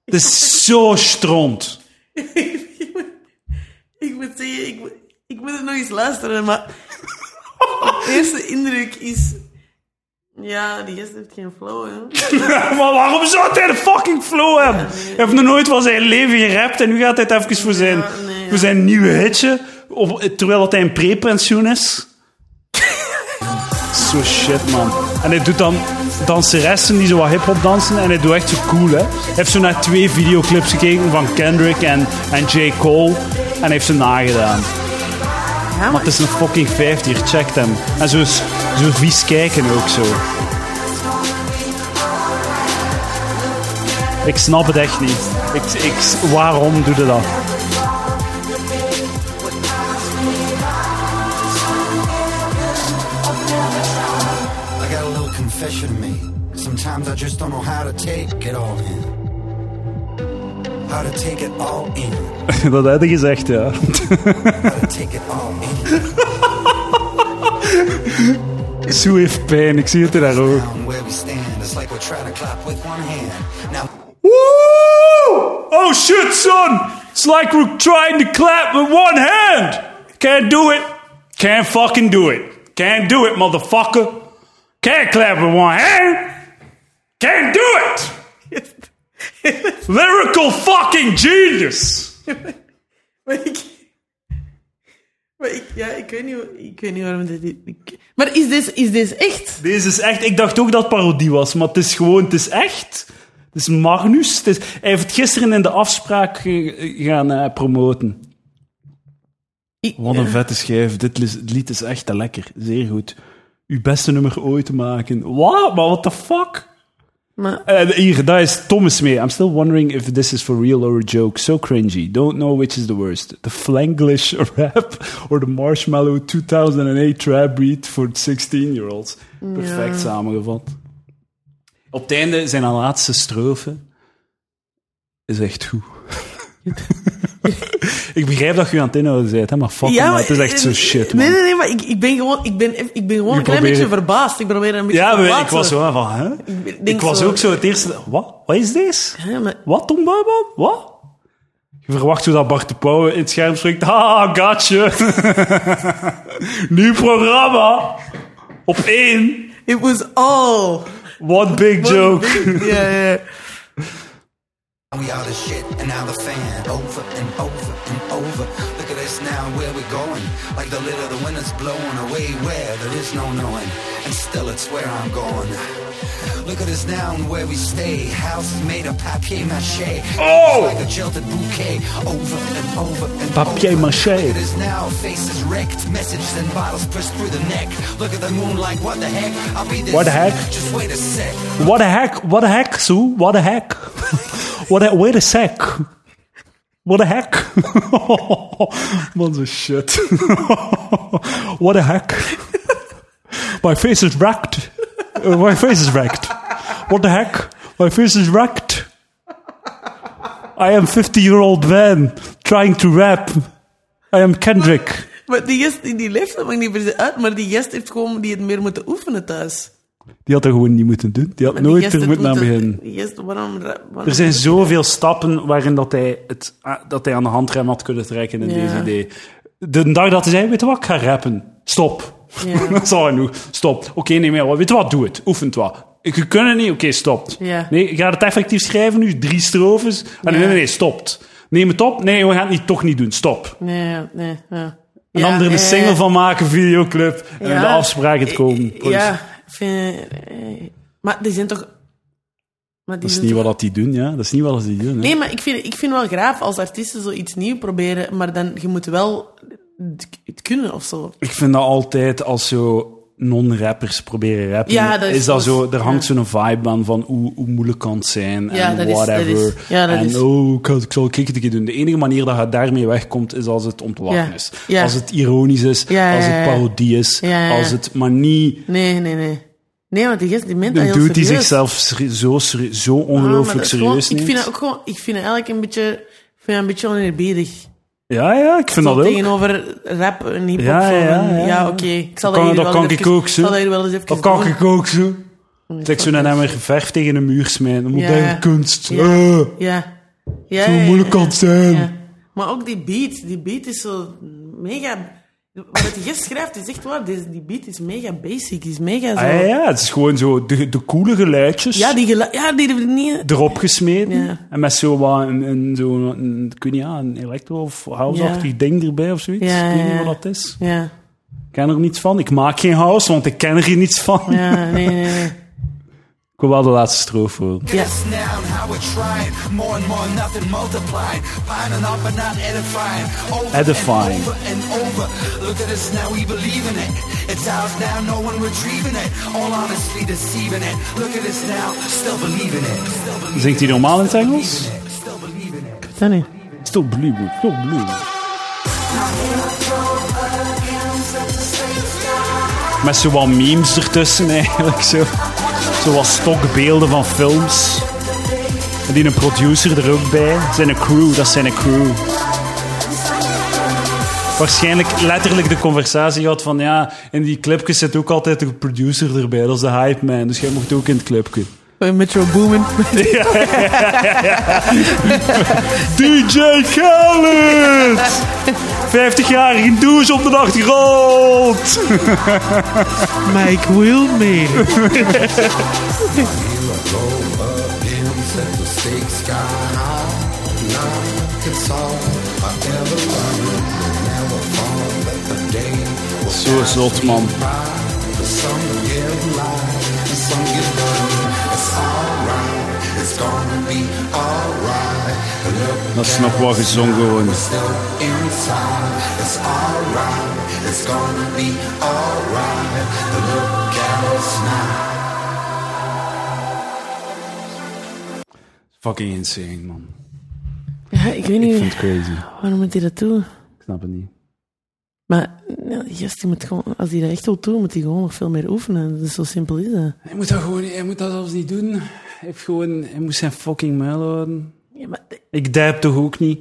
Speaker 1: Het is zo stront.
Speaker 2: ik, moet, ik moet zeggen, ik, moet- ik moet het nog eens luisteren, maar... de eerste indruk is... Ja, die gast heeft geen flow, hè.
Speaker 1: Maar waarom zou hij de fucking flow hebben? Hij heeft nog nooit van zijn leven gerapt en nu gaat hij het even voor zijn,
Speaker 2: Ja, nee, ja.
Speaker 1: voor zijn nieuwe hitje. Op, terwijl dat hij een pre-pensioen is. zo shit, man. En hij doet dan danseressen die zo wat hip-hop dansen en hij doet echt zo cool, hè. Hij heeft zo naar twee videoclips gekeken van Kendrick en, en J. Cole en hij heeft ze nagedaan.
Speaker 2: Ja,
Speaker 1: Maar het is een fucking 50, check hem. En zo, is- zo vies kijken ook zo. Ik snap het echt niet. Ik, ik, waarom doe je dat?
Speaker 4: I got a little confession to make. Sometimes I just don't know how to take it all in. How to take it all in.
Speaker 1: Dat had hij gezegd, ja.
Speaker 4: How to take it all in.
Speaker 1: Sue heeft pijn, ik zie het er daar ook.
Speaker 4: Down where we stand. It's like we're trying to clap with one hand. Now
Speaker 1: Woo! Oh shit, son! It's like we're trying to clap with one hand! Can't do it. Can't fucking do it. Can't do it, motherfucker. Can't clap with one hand. Can't do it! Lyrical fucking genius!
Speaker 2: Maar ik... Maar ik, ja, ik weet niet, ik weet niet waarom dit... ik- maar is dit, is dit echt?
Speaker 1: Deze is echt... Ik dacht ook dat het parodie was, maar het is gewoon... Het is echt... Het is Magnus. Het is, hij heeft het gisteren in de afspraak eh, gaan eh, promoten.
Speaker 2: Ik-
Speaker 1: Wat een vette schijf. Dit lis- lied is echt te lekker. Zeer goed. Uw beste nummer ooit maken. Wat? Maar what the fuck?
Speaker 2: Maar
Speaker 1: En Eh, hier, daar is Thomas mee. I'm still wondering if this is for real or a joke. So cringy. Don't know which is the worst. The Flanglish rap or the Marshmallow 2008 trap beat for 16-year-olds. Perfect samengevat. Op het einde, zijn laatste strofe is echt goed. ik begrijp dat je aan het inhouden bent, hè, Oh, maar fuck
Speaker 2: Ja,
Speaker 1: me,
Speaker 2: maar- eh,
Speaker 1: het is echt zo shit, man.
Speaker 2: Nee, nee, nee, maar ik, ik ben gewoon, ik ben, eff- ik ben gewoon
Speaker 1: Je
Speaker 2: een klein
Speaker 1: probeert-
Speaker 2: beetje verbaasd. Ik probeer een beetje
Speaker 1: Ja,
Speaker 2: te
Speaker 1: maar ik
Speaker 2: plaatsen.
Speaker 1: was wel van, hè?
Speaker 2: eh, Ik
Speaker 1: Ik
Speaker 2: denk
Speaker 1: was ook zo het eerste... Wat? Wat is dit?
Speaker 2: Ja, maar,
Speaker 1: Wat, Tom Bouwman? Wat? Je verwacht zo dat Bart de Pauw in het scherm spreekt. Ah, gotcha. Nieuw programma. Op één.
Speaker 2: it was all...
Speaker 1: What big joke.
Speaker 2: Ja, ja.
Speaker 4: We are the shit and now the fan over and over and over. Look at us now where we're going. Like the lid of the wind is blowing away where there is no knowing. And still it's where I'm going. Look at us now and where we stay. House made of papier mache.
Speaker 1: Oh!
Speaker 4: It's like a jilted bouquet over and over and
Speaker 1: Papier
Speaker 4: over.
Speaker 1: mâché.
Speaker 4: Look at us now, faces wrecked, messages and bottles pushed through the neck. Look at the moon like what the heck? I'll be this.
Speaker 1: What the heck?
Speaker 4: Just wait a sec.
Speaker 1: What a heck. What a heck, Sue. What a heck. What a, wait a sec. What a heck. Wat een shit. What a heck. My face is wrecked. Uh, my face is wrecked. What the heck? My face is wrecked. I am 50 year old man trying to rap. I am Kendrick.
Speaker 2: Maar die gast, die, die leeft nog niet per se uit, maar die gast heeft gewoon die het meer moeten oefenen thuis.
Speaker 1: Die had dat gewoon niet moeten doen. Die had
Speaker 2: Maar die
Speaker 1: nooit
Speaker 2: gast
Speaker 1: er
Speaker 2: het
Speaker 1: moeten aan
Speaker 2: moeten-
Speaker 1: beginnen.
Speaker 2: Die gast, waarom... ra- waarom
Speaker 1: Er zijn zoveel stappen waarin dat hij, het, ah, dat hij aan de handrem had kunnen trekken in
Speaker 2: Ja.
Speaker 1: deze idee. De dag dat hij zei, weet je wat, ik ga rappen. Stop.
Speaker 2: Ja.
Speaker 1: dat is al genoeg. Stop. Oké, nee meer. Weet je wat, doe het. Oefent wat. Je kunt het niet, oké, stopt.
Speaker 2: Ja.
Speaker 1: Nee, ga het effectief schrijven nu, drie strofes. Ah, nee,
Speaker 2: Ja.
Speaker 1: nee, nee, stopt. Neem het op. Nee, we gaan het niet, toch niet doen, stop.
Speaker 2: Nee, ja, nee, ja.
Speaker 1: En
Speaker 2: Ja,
Speaker 1: dan er
Speaker 2: ja,
Speaker 1: een single
Speaker 2: ja.
Speaker 1: van maken, videoclip. En
Speaker 2: Ja.
Speaker 1: de afspraak het komen.
Speaker 2: Ja, vind, eh, maar die zijn toch... Maar die
Speaker 1: Dat is
Speaker 2: zijn
Speaker 1: niet
Speaker 2: toch-
Speaker 1: wat dat die doen, ja. Dat is niet wat dat die doen. hè.
Speaker 2: Nee, maar ik vind, ik vind wel graaf als artiesten zoiets nieuw proberen, maar dan, je moet wel het, het kunnen of zo.
Speaker 1: Ik vind dat altijd als zo non-rappers proberen rappen.
Speaker 2: Ja, dat
Speaker 1: dat
Speaker 2: is- dat is-
Speaker 1: zo, er hangt zo'n vibe aan van hoe, hoe moeilijk kan het zijn en
Speaker 2: Ja, dat is- dat
Speaker 1: whatever.
Speaker 2: is- ja, dat
Speaker 1: en
Speaker 2: is-
Speaker 1: oh, ik, ga- ik zal het een keer doen. De enige manier dat je daarmee wegkomt is als het om te lachen
Speaker 2: Ja.
Speaker 1: is.
Speaker 2: Ja.
Speaker 1: Als het ironisch is,
Speaker 2: Ja, ja,
Speaker 1: als
Speaker 2: ja,
Speaker 1: het
Speaker 2: ja.
Speaker 1: parodie is,
Speaker 2: Ja, ja, ja.
Speaker 1: als het maar niet
Speaker 2: Nee, nee, nee. Nee, want die gast, die meent dat
Speaker 1: een
Speaker 2: heel
Speaker 1: dude die
Speaker 2: serieus.
Speaker 1: zichzelf serie- zo, serie- zo
Speaker 2: Ah, maar
Speaker 1: ongelooflijk
Speaker 2: dat is gewoon-
Speaker 1: serieus
Speaker 2: Ik vind
Speaker 1: neemt.
Speaker 2: dat ook gewoon... Ik vind dat eigenlijk een beetje... Ik vind dat een beetje oneerbiedig.
Speaker 1: Ja, ja, ik vind
Speaker 2: Zo
Speaker 1: dat ook.
Speaker 2: Tegenover rap en hiphop.
Speaker 1: Ja,
Speaker 2: zo van,
Speaker 1: ja, ja.
Speaker 2: ja, oké. Ik zal
Speaker 1: Dat kan-
Speaker 2: hier
Speaker 1: dat
Speaker 2: wel
Speaker 1: kan
Speaker 2: eens
Speaker 1: ik
Speaker 2: even-
Speaker 1: ook, zo.
Speaker 2: zal dat hier wel eens even
Speaker 1: Dat kan
Speaker 2: doen.
Speaker 1: ik ook zo. Het is zo'n
Speaker 2: fuck
Speaker 1: emmer verf tegen een muur smijten.
Speaker 2: Ja.
Speaker 1: Moderne kunst.
Speaker 2: Ja.
Speaker 1: Eh,
Speaker 2: Ja. ja
Speaker 1: zo
Speaker 2: ja, ja,
Speaker 1: moeilijk kan het zijn.
Speaker 2: ja. Maar ook die beat. Die beat is zo mega... Wat die gast schrijft is echt waar. Die, die beat is mega basic. Is mega zo...
Speaker 1: Ah, ja, ja, het is gewoon zo de, de coole geluidjes
Speaker 2: Ja, die gelu- Ja, die... die, die
Speaker 1: erop gesmeten.
Speaker 2: Ja.
Speaker 1: En met zo wat een, een, zo een, ik weet niet, ja, een electro- of house-achtig
Speaker 2: Ja.
Speaker 1: ding erbij of zoiets.
Speaker 2: Ja,
Speaker 1: ik weet
Speaker 2: ja,
Speaker 1: niet
Speaker 2: ja.
Speaker 1: wat dat is.
Speaker 2: ja.
Speaker 1: Ik ken er niets van. Ik maak geen house, want ik ken er niets van.
Speaker 2: Ja, nee, nee, nee.
Speaker 1: Ik wil wel de laatste stroof horen.
Speaker 2: Ja.
Speaker 4: This now and how we're trying. More and more, nothing multiplied. Pining up but not edifying. Over
Speaker 1: Edifying.
Speaker 4: And over and over. Look at us now, we believe in it. It's ours now, no one retrieving it. All honestly deceiving it. Look at us now, still believing it. Still believing
Speaker 1: Zingt hij normaal in het Engels?
Speaker 4: it. Still believing it.
Speaker 2: Dat niet.
Speaker 1: Still blue, still blue. Met zo wat memes ertussen eigenlijk. Zo, zo wat stokbeelden van films. En die een producer er ook bij. Zijn een crew, dat zijn een crew. Waarschijnlijk letterlijk de conversatie gehad van ja, in die clipjes zit ook altijd de producer erbij. Dat is de hype man, dus jij mocht ook in het clipje.
Speaker 2: Bij Metro Boomin.
Speaker 1: DJ Khaled! 50-jarige douche op de achtergrond!
Speaker 2: Mike Wilming.
Speaker 1: Zo zot, man. Dat is nog wel gezongen gewoon. Fucking insane, man.
Speaker 2: Ja, ik weet
Speaker 1: Ik
Speaker 2: niet
Speaker 1: vind het crazy.
Speaker 2: waarom moet hij dat doen.
Speaker 1: Ik snap het niet.
Speaker 2: Maar ja, yes, die moet gewoon, als hij dat echt wil doen, moet hij gewoon nog veel meer oefenen. Dus zo simpel is dat.
Speaker 1: Hij moet dat gewoon hij moet dat zelfs niet doen. Hij, heeft gewoon, hij moet zijn fucking muil houden.
Speaker 2: Ja, maar de-
Speaker 1: Ik dijp toch ook niet?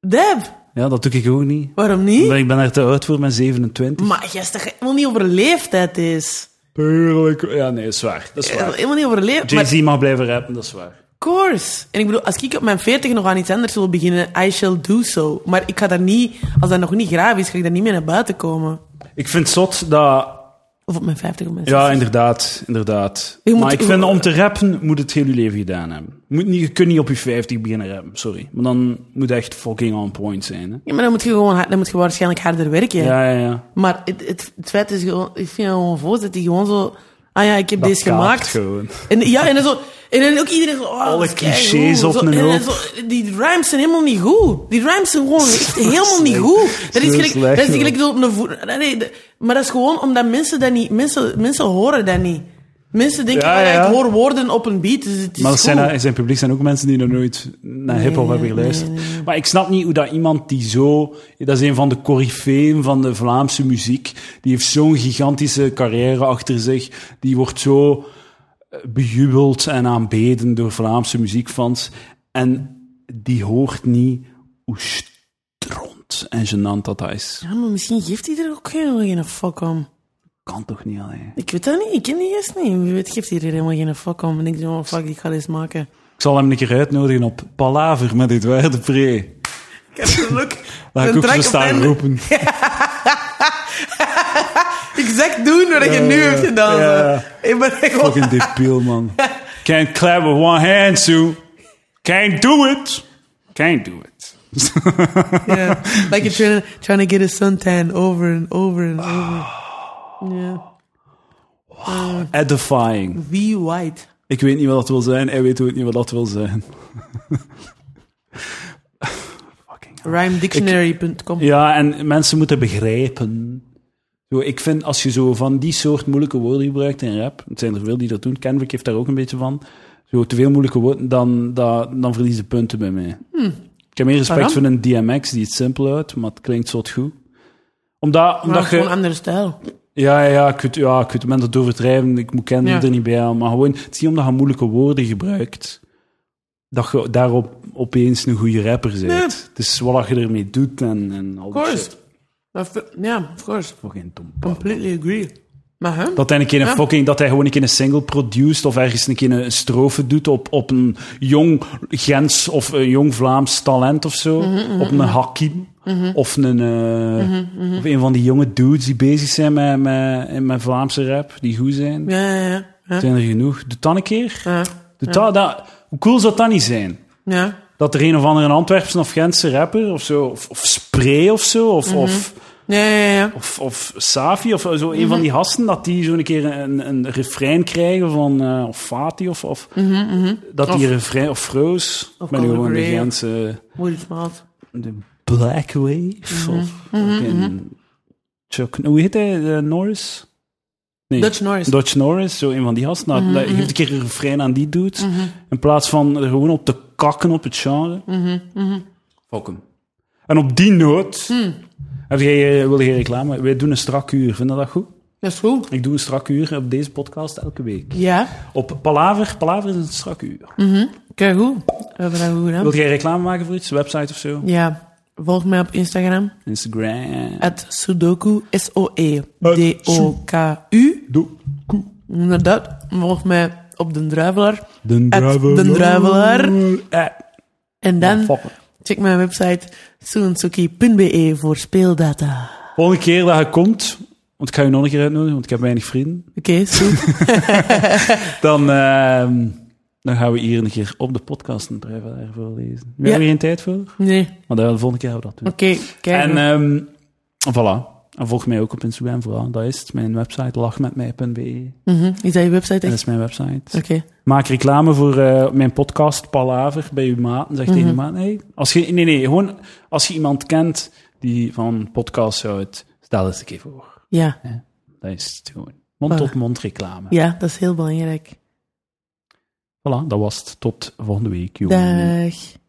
Speaker 2: Deb,
Speaker 1: Ja, dat doe ik ook niet.
Speaker 2: waarom niet?
Speaker 1: Ik ben er te oud voor, mijn 27.
Speaker 2: Maar yes, dat gaat helemaal niet over leeftijd is.
Speaker 1: Tuurlijk. Ja, nee, dat is waar. Dat is
Speaker 2: Dat gaat
Speaker 1: waar.
Speaker 2: Helemaal niet over leeftijd. Maar
Speaker 1: Jay-Z mag blijven rappen, dat is waar.
Speaker 2: course. En ik bedoel, als ik op mijn 40 nog aan iets anders wil beginnen, I shall do so. Maar ik ga daar niet, als dat nog niet graaf is, ga ik daar niet mee naar buiten komen.
Speaker 1: Ik vind het zot dat...
Speaker 2: Of op mijn 50 of mijn 60.
Speaker 1: Ja, inderdaad. inderdaad.
Speaker 2: Je moet-
Speaker 1: maar ik vind, om te rappen moet het heel je leven gedaan hebben. Je, moet niet, je kunt niet op je 50 beginnen rappen, sorry. Maar dan moet het echt fucking on point zijn. Hè?
Speaker 2: Ja, maar dan moet je gewoon hard- dan moet je waarschijnlijk harder werken.
Speaker 1: Ja, ja, ja.
Speaker 2: Maar het, het, het feit is gewoon, ik vind het gewoon voor dat die gewoon zo, ah ja, ik heb deze
Speaker 1: kaapt
Speaker 2: gemaakt.
Speaker 1: gewoon.
Speaker 2: En, ja, en dan, zo, en dan ook iedereen zo, oh,
Speaker 1: Alle
Speaker 2: dat is keigoed.
Speaker 1: clichés op
Speaker 2: Zo,
Speaker 1: een
Speaker 2: en dan
Speaker 1: hoop.
Speaker 2: zo, Die rhymes zijn helemaal niet goed. Die rhymes zijn gewoon echt helemaal niet
Speaker 1: slecht.
Speaker 2: goed. Dat
Speaker 1: Zo
Speaker 2: is gelijk,
Speaker 1: slecht,
Speaker 2: dat is
Speaker 1: man.
Speaker 2: gelijk zo op een voet. nee, nee, de- Maar dat is gewoon omdat mensen dat niet, mensen, mensen horen dat niet. Mensen denken,
Speaker 1: Ja,
Speaker 2: ah ja,
Speaker 1: ja.
Speaker 2: ik hoor woorden op een beat, dus het is
Speaker 1: Maar dat zijn,
Speaker 2: goed.
Speaker 1: in zijn publiek zijn ook mensen die nog nooit naar hip-hop hebben geluisterd. Maar ik snap niet hoe dat iemand die zo. Dat is een van de coryfeeën van de Vlaamse muziek. Die heeft zo'n gigantische carrière achter zich. Die wordt zo eh, bejubeld en aanbeden door Vlaamse muziekfans. En die hoort niet hoe stront en gênant dat dat is.
Speaker 2: Ja, maar misschien geeft hij er ook helemaal geen fuck om.
Speaker 1: Kan toch niet alleen.
Speaker 2: Ik weet dat niet, ik ken die gast niet. Wie weet geeft hij er helemaal geen fuck om. En ik denk, oh fuck, ik ga deze maken.
Speaker 1: Ik zal hem een keer uitnodigen op Palaver met Edouard de Pre.
Speaker 2: Ik heb geluk.
Speaker 1: Laat ik
Speaker 2: Een
Speaker 1: ook
Speaker 2: drank
Speaker 1: zo
Speaker 2: op
Speaker 1: staan
Speaker 2: hem.
Speaker 1: roepen.
Speaker 2: Ik exact doen wat je nu hebt gedaan.
Speaker 1: ja.
Speaker 2: zo. Ik ben echt wel...
Speaker 1: Fucking debiel, man. Can't clap with one hand, Sue. Can't do it. Can't do it.
Speaker 2: Yeah. Like you're trying to, trying to get a suntan over and over and over.
Speaker 1: Ah.
Speaker 2: Yeah.
Speaker 1: Edifying.
Speaker 2: Be white.
Speaker 1: Ik weet niet wat dat wil zijn. Hij weet ook niet wat dat wil zijn. Fucking hell.
Speaker 2: Rhymedictionary.com.
Speaker 1: Ja, en mensen moeten begrijpen. Zo, ik vind, als je zo van die soort moeilijke woorden gebruikt in rap, het zijn er veel die dat doen, Kendrick heeft daar ook een beetje van, zo te veel moeilijke woorden, dan, dan, dan verliezen punten bij mij. Ik heb meer respect
Speaker 2: Hmm. Waarom?
Speaker 1: voor een DMX, die het simpel uit, maar het klinkt soort goed. Omdat,
Speaker 2: Maar
Speaker 1: omdat
Speaker 2: gewoon
Speaker 1: je...
Speaker 2: een andere stijl.
Speaker 1: Ja, ja, ja, ik weet, ja, ik weet, men dat overdrijven, ik moet Kendrick
Speaker 2: Ja.
Speaker 1: er niet bij halen, maar gewoon, het is niet omdat je moeilijke woorden gebruikt, dat je daarop opeens een goede rapper bent.
Speaker 2: Nee.
Speaker 1: Het is wat je ermee doet en, en al
Speaker 2: Of
Speaker 1: die
Speaker 2: course.
Speaker 1: shit.
Speaker 2: Dat vind- Ja, of course.
Speaker 1: Fucking dom.
Speaker 2: Completely agree. Maar hè?
Speaker 1: Dat hij, een keer een
Speaker 2: Ja.
Speaker 1: fucking, dat hij gewoon een keer een single produced of ergens een keer een strofe doet op, op een jong Gens of een jong Vlaams talent of zo.
Speaker 2: Mhm,
Speaker 1: Op een Hakim. Of, een, eh,
Speaker 2: mhm.
Speaker 1: of een van die jonge dudes die bezig zijn met, met, met Vlaamse rap, die goed zijn.
Speaker 2: Ja, ja, ja. Ja.
Speaker 1: Zijn er genoeg? Doe dat een keer.
Speaker 2: Ja.
Speaker 1: Doe dat, dat- hoe cool zou dat niet zijn?
Speaker 2: ja.
Speaker 1: Dat er een of andere Antwerpse of Gentse rapper of zo, of, of Spray of zo, of,
Speaker 2: Mhm.
Speaker 1: of
Speaker 2: Ja, ja, ja.
Speaker 1: of, of Safi of zo, een
Speaker 2: Mhm.
Speaker 1: van die hasten, dat die zo'n keer een, een refrein krijgen van eh, of Fati of, of dat die refrein of Froze,
Speaker 2: Mhm, Of
Speaker 1: met gewoon de
Speaker 2: Colibri, of-
Speaker 1: Gentse
Speaker 2: Moeilijk smaalt.
Speaker 1: de Black
Speaker 2: Mhm.
Speaker 1: Wave of ook een Chuck, hoe heet hij, eh, Norris? Nee,
Speaker 2: Dutch Norris. Mhm,
Speaker 1: Dutch Norris, zo een van die hasten. Nou, dat- Geef een keer een refrein aan die doet, in plaats van er gewoon op te kakken op het genre.
Speaker 2: Mhm,
Speaker 1: Fuck hem. En op die noot
Speaker 2: Hmm.
Speaker 1: heb jij, eh, wil je reclame? Wij doen een strak uur. Vind je dat goed?
Speaker 2: Dat is goed.
Speaker 1: Ik doe een strak uur op deze podcast elke week.
Speaker 2: Ja.
Speaker 1: Op Palaver. Palaver is een strak uur.
Speaker 2: Hmm. Kijk goed. We hebben dat goed gedaan.
Speaker 1: Wil jij reclame maken voor iets? Website of zo?
Speaker 2: Ja. Volg mij op Instagram.
Speaker 1: Instagram.
Speaker 2: At Sudoku. E.
Speaker 1: At
Speaker 2: S-O-E-D-O-K-U.
Speaker 1: Doe. Koe.
Speaker 2: Inderdaad. Volg mij op Den Druivelaar.
Speaker 1: De druivelaar.
Speaker 2: Den Druivelaar.
Speaker 1: Eh,
Speaker 2: En eh, dan
Speaker 1: fuck it.
Speaker 2: check mijn website soensuki.be voor speeldata.
Speaker 1: Volgende keer dat je komt, want ik ga je nog een keer uitnodigen, want ik heb weinig vrienden.
Speaker 2: Oké, Soen.
Speaker 1: Dan, ehm, dan gaan we hier een keer op de podcast een Druivelaar voorlezen. We
Speaker 2: Ja.
Speaker 1: hebben er geen tijd voor,
Speaker 2: Nee.
Speaker 1: maar dan de volgende keer gaan we dat doen.
Speaker 2: Oké, kijk.
Speaker 1: En ehm, voilà. En volg mij ook op Instagram vooral. Dat is het. mijn website, lachmetmij.be.
Speaker 2: Mhm. Is dat je website
Speaker 1: Dat
Speaker 2: echt?
Speaker 1: is mijn website.
Speaker 2: Oké.
Speaker 1: Maak reclame voor eh, mijn podcast Palaver bij uw maten.
Speaker 2: Mhm.
Speaker 1: Zeg tegen je maat, nee. Als je, nee, nee, gewoon als je iemand kent die van podcasts houdt, stel eens een keer voor.
Speaker 2: Ja.
Speaker 1: Dat is het gewoon. Mond-tot-mond reclame.
Speaker 2: ja, dat is heel belangrijk.
Speaker 1: Voilà, dat was het. Tot volgende week, jongen.
Speaker 2: Dag.